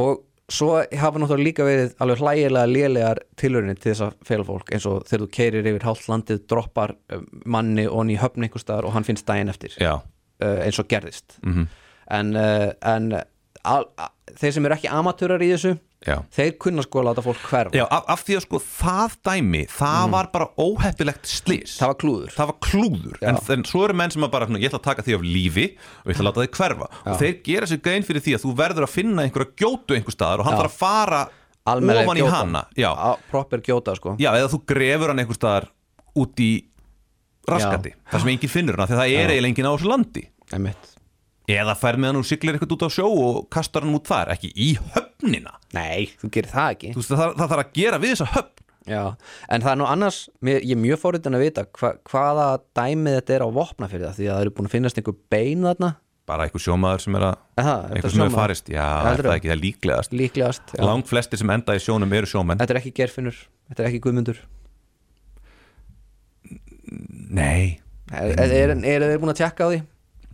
S1: og svo hafa náttúrulega líka verið alveg hlægilega lélegar tilhörinni til þess að fela fólk eins og þegar þú keirir yfir hálft landið droppar eh, manni og hann í höfn einhvers staðar og hann finnst daginn eftir
S2: já,
S1: uh, eins og gerðist
S2: Mhm.
S1: -hmm. en, uh, en al, a, þeir sem eru ekki amatúrar í þessu
S2: Já.
S1: þeir kunna sko að láta fólk hverfa
S2: já af, af því að sko það dæmi það var bara óheppilegt slis
S1: Mm. það var klúður
S2: það var klúður en, en svo eru menn sem að bara, svona, ég ætla að taka því af lífi og ég ætla að láta þig hverfa og þeir gera sér grein fyrir því að þú verður að finna einhverja gjótu einhver staðar og hann þarf að fara
S1: Almennileg
S2: ofan í
S1: gjóta.
S2: hana já,
S1: Á- proper gjóta sko
S2: Já, eða þú grefur hann einhver staðar út í raskati, þar sem enginn finnur hann, því að það er eiginlega enginn á þessu landi
S1: Einmitt.
S2: eða fær með hann og siglir eitthvað út á sjó og kastar hann út þar, ekki í höfnina
S1: Nei, þú gerir það ekki
S2: Þú veist, það, það þarf að gera við þessa höfn
S1: Já, en það er nú annars mér, ég er mjög fóruðin að vita hva, hvaða dæmið þetta er á vopna fyrir það því að það eru búin að finnast einhver bein þarna
S2: bara einhver sjómaður sem er að
S1: Aha, er þetta
S2: einhver sem hefur
S1: sjómaður?
S2: farist, já, er
S1: Heldurðu?
S2: það ekki það er líklegast
S1: líklegast já.
S2: lang flestir sem enda í sjónum eru sjómenn
S1: Þetta er ekki gerfinur, þetta er ekki guðmundur
S2: nei,
S1: Er, er, er, er þeir búin að tjekka á því?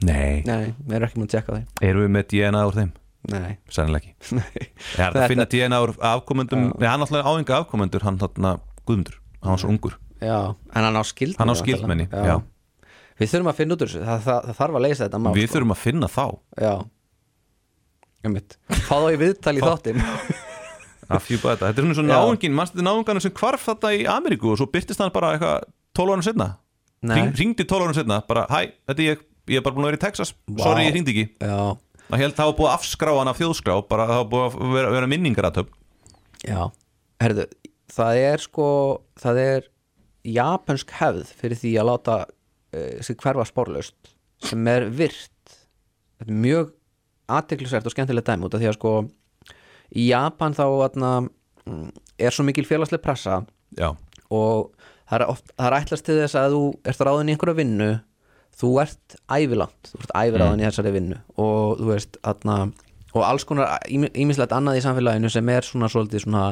S2: nei,
S1: Nei, þeir eru ekki búin að tjekka á því
S2: eru við með DNA úr þeim
S1: Nei,
S2: sannlega ekki,
S1: nei
S2: það er hægt að finna DNA úr afkomendum, nei, hann alltaf áhengi afkomendur hann þarna Guðmundur, hann var svo ungur
S1: Já, en hann á skildmenni
S2: Hann á skyldmenni,
S1: náttúrulega.
S2: já.
S1: Við þurfum að finna út úr þessu, það, það, það þarf að leysa þetta mál
S2: við
S1: sko.
S2: þurfum að finna þá
S1: Já, einmitt Fá þá í viðtal í þáttin
S2: að fjúpa þetta, þetta er svona
S1: Já.
S2: svona náungin mannstu náunganum sem hvarf þetta í Ameríku og svo byrtist hann bara eitthvað 12 árum setna
S1: Nei.
S2: Hring, hringdi 12 árum setna, bara hæ, þetta er ég ég er bara búin að vera í Texas, sorry ég hringdi ekki
S1: Já,
S2: Það held það var búið að afskrá hann af þjóðskrá bara það var búið að vera, vera minningar að töp
S1: já Herðu, það er sko það er japansk hefð fyrir því að láta uh, sig hverfa spórlaust sem er virt Þetta er mjög aðteklisvert og skemmtilega dæmi út af því að sko í Japan þá atna, er svo mikil félagsleg pressa
S2: Já,
S1: og það er, oft, það er ætlast til þess að þú ert ráðin í einhverja vinnu þú ert ævilangt þú ert æviráðin í þessari vinnu og þú veist, þarna og alls konar ímislegt annað í samfélaginu sem er svona svolítið svona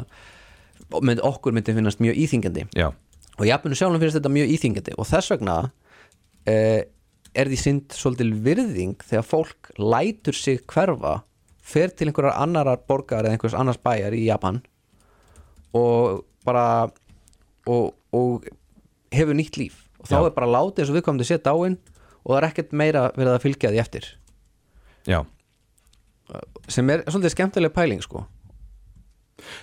S1: mynd, okkur myndi finnast mjög íþingjandi
S2: já,
S1: og jafnum sjálfum finnst þetta mjög íþingjandi og þess vegna eh, er því sind svolítið virðing þegar fólk lætur sig hverfa fer til einhverjar annarar borgar eða einhvers annars bæjar í Japan og bara og, og hefur nýtt líf og þá
S2: Já.
S1: er bara látið eins og viðkomandi sé dáin og það er ekkert meira verið að fylgja því eftir
S2: já
S1: sem er svolítið skemmtileg pæling sko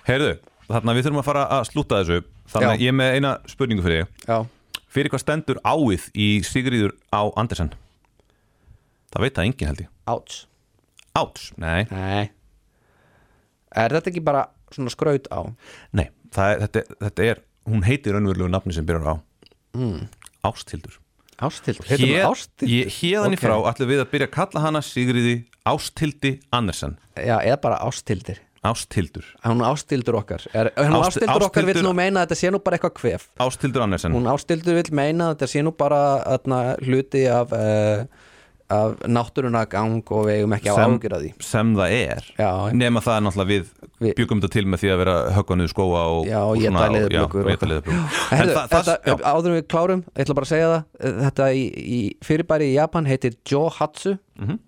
S2: Heyrðu, þarna við þurfum að fara að slúta þessu Þannig að
S1: Já.
S2: ég er með eina spurningu fyrir þig
S1: Já,
S2: Fyrir hvað stendur áið í Sigríður á Andersen? Það veit það enginn held ég
S1: áts
S2: Áts, nei,
S1: Nei Er þetta ekki bara svona skraut á?
S2: nei það er, þetta, er- þetta er, hún heitir raunverulegu nafni sem byrjar á mm. Ástildur
S1: Ástildur, heitir hún Ástildur?
S2: Hérðan í
S1: Ok.
S2: frá ætlum við að byrja að kalla hana Sigríði Ástildi Andersen
S1: Já, eða bara ástildir
S2: Ástildur,
S1: Hún ástildur okkar er, Hún
S2: Ást-
S1: ástildur, okkar
S2: Ásthildur-
S1: vill nú meina að þetta sé nú bara eitthvað kvef
S2: Ástildur Andersen
S1: Hún ástildur vill meina að þetta sé nú bara atna, hluti af, uh, af náttúruna gang og við eigum ekki á
S2: Sem-
S1: ágjur að því
S2: sem það er
S1: Já.
S2: nema það er náttúrulega við,
S1: Við-
S2: byggum þetta til með því að vera höggva niður skóa og,
S1: Já,
S2: og
S1: og éta
S2: og- já,
S1: leðurblökur
S2: og éta leðurblökur. En
S1: Herðu,
S2: það- það-
S1: þetta,
S2: já,
S1: áður en við klárum, ég ætla bara að segja það eh, Þetta í, í fyrirbæri í Japan heitir Johatsu
S2: Mhm.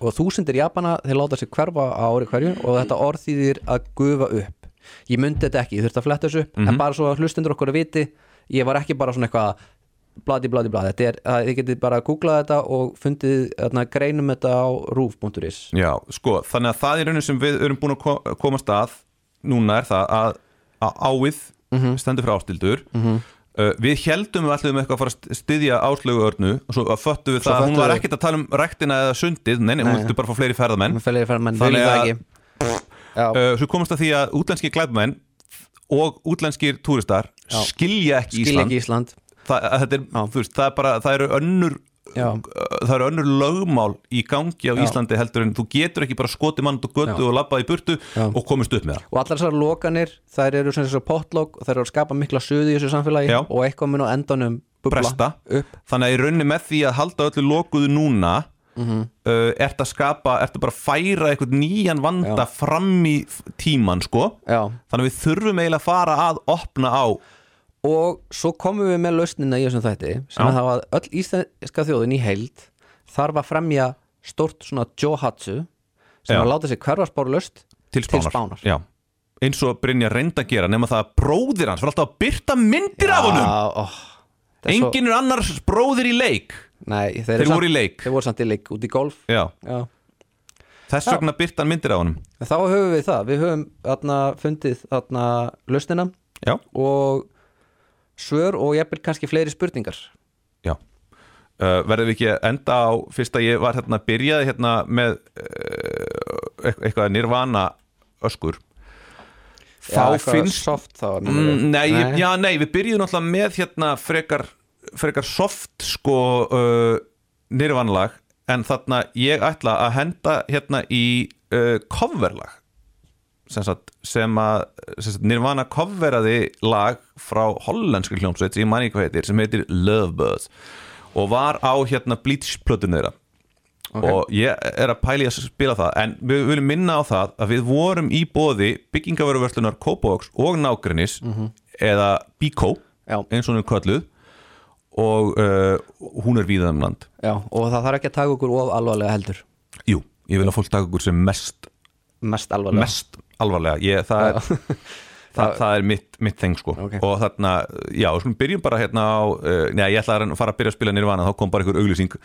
S1: og þúsundir Japana, þeir láta sig hverfa á ári hverju og þetta orð þýðir að gufa upp Ég myndi þetta ekki, ég þurfti að fletta þessu upp
S2: Mhm.
S1: en bara svo að hlustundur okkur að viti ég var ekki bara svona eitthvað bladi bladi bladi, þetta er, að þið getið bara að googla þetta og fundið þarna, greinum þetta á roof.is
S2: já, sko, þannig að það er raunum sem við erum búin að ko- komast að núna er það að, að áið
S1: Mhm.
S2: stendur frá ástildur Uh, við heldum við allir um eitthvað að fara að styðja áslögu örnu og svo að föttu við
S1: Svo
S2: það að hún
S1: föttum
S2: var
S1: við-
S2: ekkert að tala um rektina eða sundið, nei, nei, hún
S1: Nei.
S2: vildi bara fá fleiri ferðamenn Mhm. Þannig
S1: Þannig
S2: að-
S1: að Já,
S2: uh, svo komast að því að útlenskir glæbmenn og útlenskir túristar
S1: Já.
S2: skilja ekki
S1: skil
S2: Ísland
S1: ekki Ísland
S2: það, að þetta er,
S1: Já.
S2: þú veist, það er bara það eru önnur uh,
S1: Já.
S2: það eru önnur lögmál í gangi á
S1: Já.
S2: Íslandi heldur en þú getur ekki bara skotið mann út og götu
S1: Já.
S2: og labbað í burtu
S1: Já.
S2: og komist upp með það
S1: og allar þessar lokanir þær eru sem þessar potlók og þær eru að skapa mikla suðu í þessu samfélagi
S2: Já.
S1: og eitthvað mun á endanum bubla
S2: bresta,
S1: upp
S2: þannig að í raunni með því að halda öllu lokuðu núna mm
S1: Mhm.
S2: -hmm. uh, ert að skapa, ert að bara færa eitthvað nýjan vanda
S1: Já.
S2: fram í f- tímann sko
S1: Já.
S2: þannig að við þurfum eiginlega að fara að opna á
S1: og svo komum við með lausnina í þessum þætti sem
S2: Já.
S1: er það að öll íslenska þjóðin í heild þarf að fremja stort svona johatsu sem
S2: Já.
S1: að láta sig hverfa spórlaust
S2: til spánar,
S1: Spánar.
S2: Já. eins og Brynja reynda að gera nema það að bróðir hans var alltaf að byrta myndir af honum
S1: Já, ó, þetta er svo-
S2: enginn er annars bróðir í leik
S1: Nei,
S2: þeir
S1: eru
S2: voru í leik.
S1: þeir voru samt í leik út í golf
S2: já,
S1: Já.
S2: þess
S1: Já.
S2: vegna byrta hann myndir af honum
S1: En þá höfum við það, við höfum atna, fundið atna, lausnina
S2: já,
S1: og svör og jafnvel kannski fleiri spurningar
S2: já uh, verðum við ekki að enda á fyrst að ég var hérna, byrjaði hérna með uh, eit- eitthvað nirvana öskur
S1: Já,
S2: þá
S1: eitthvað
S2: finnst
S1: soft þá
S2: mm,
S1: meinarðu?
S2: nei, nei. Já, nei, við byrjuðum alltaf með hérna frekar, frekar soft sko uh, nirvanlag en þarna ég ætla að henda hérna í uh, coverlag sem, sagt, sem að sem sagt, Nirvana coveraði lag frá hollenski hljómsveit sem ég manni hvað heitir, sem heitir Lovebirds og var á hérna Bleach plötunni þeirra og ég er að pæli að spila það en við viljum minna á það að við vorum í bóði byggingaveruverslunar Kópavogs og Nágrinnis eða Bíkó
S1: Já.
S2: eins og hún er kölluð og uh, hún er víðan um land
S1: Já, og það þarf ekki að taka okkur of alvarlega heldur
S2: Jú, ég vil að fólk taka okkur sem mest
S1: Mest alvarlega
S2: mest alvarlega ég, það, er, það, það er mitt, mitt þeng sko.
S1: Ok.
S2: og þarna, já, við skulum byrjum bara hérna á, uh, neða, ég ætla að reyna að fara að byrja að spila nirvana, þá kom bara einhver auglýsing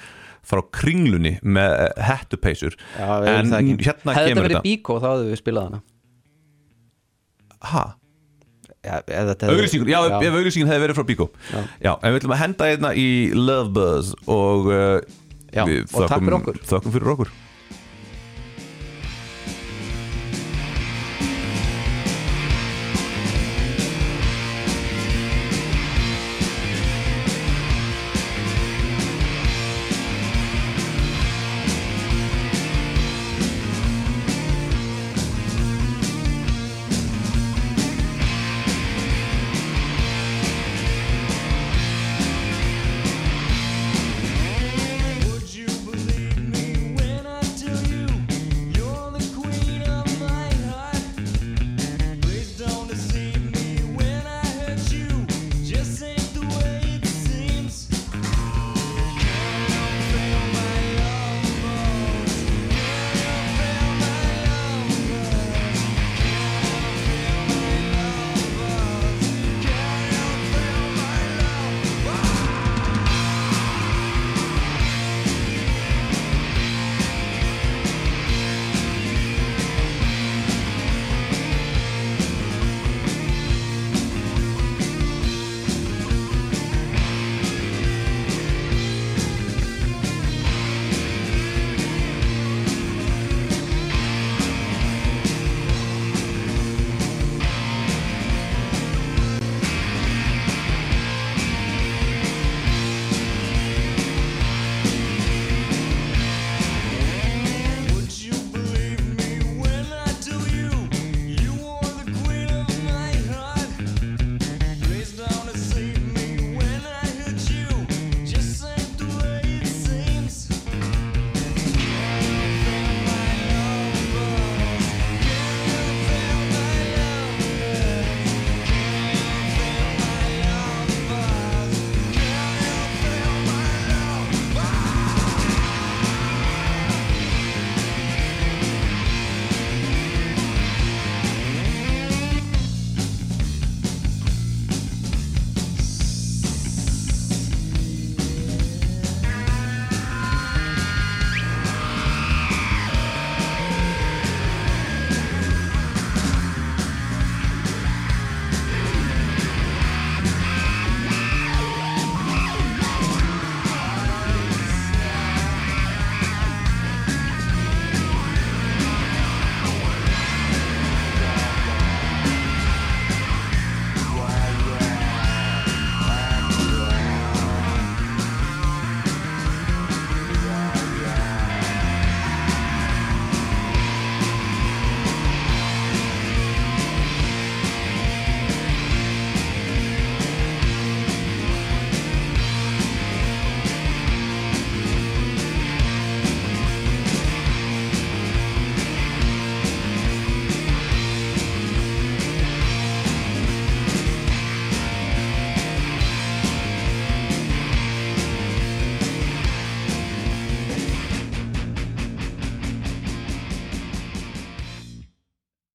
S2: frá kringlunni með uh, hettupeysur
S1: Já, við erum
S2: en
S1: það ekki.
S2: hérna
S1: Hefði þetta
S2: kemur
S1: verið
S2: þetta
S1: bíkó þá hefðu við spilað hana
S2: ha,
S1: Já, ef þetta hefði-
S2: auglýsingur, já, ef- ef auglýsingin hefði verið frá Bíkó já. en við ætlum að henda hérna í Love Buzz og uh,
S1: Já, og
S2: við
S1: takk fyrir okkur.
S2: þökkum fyrir okkur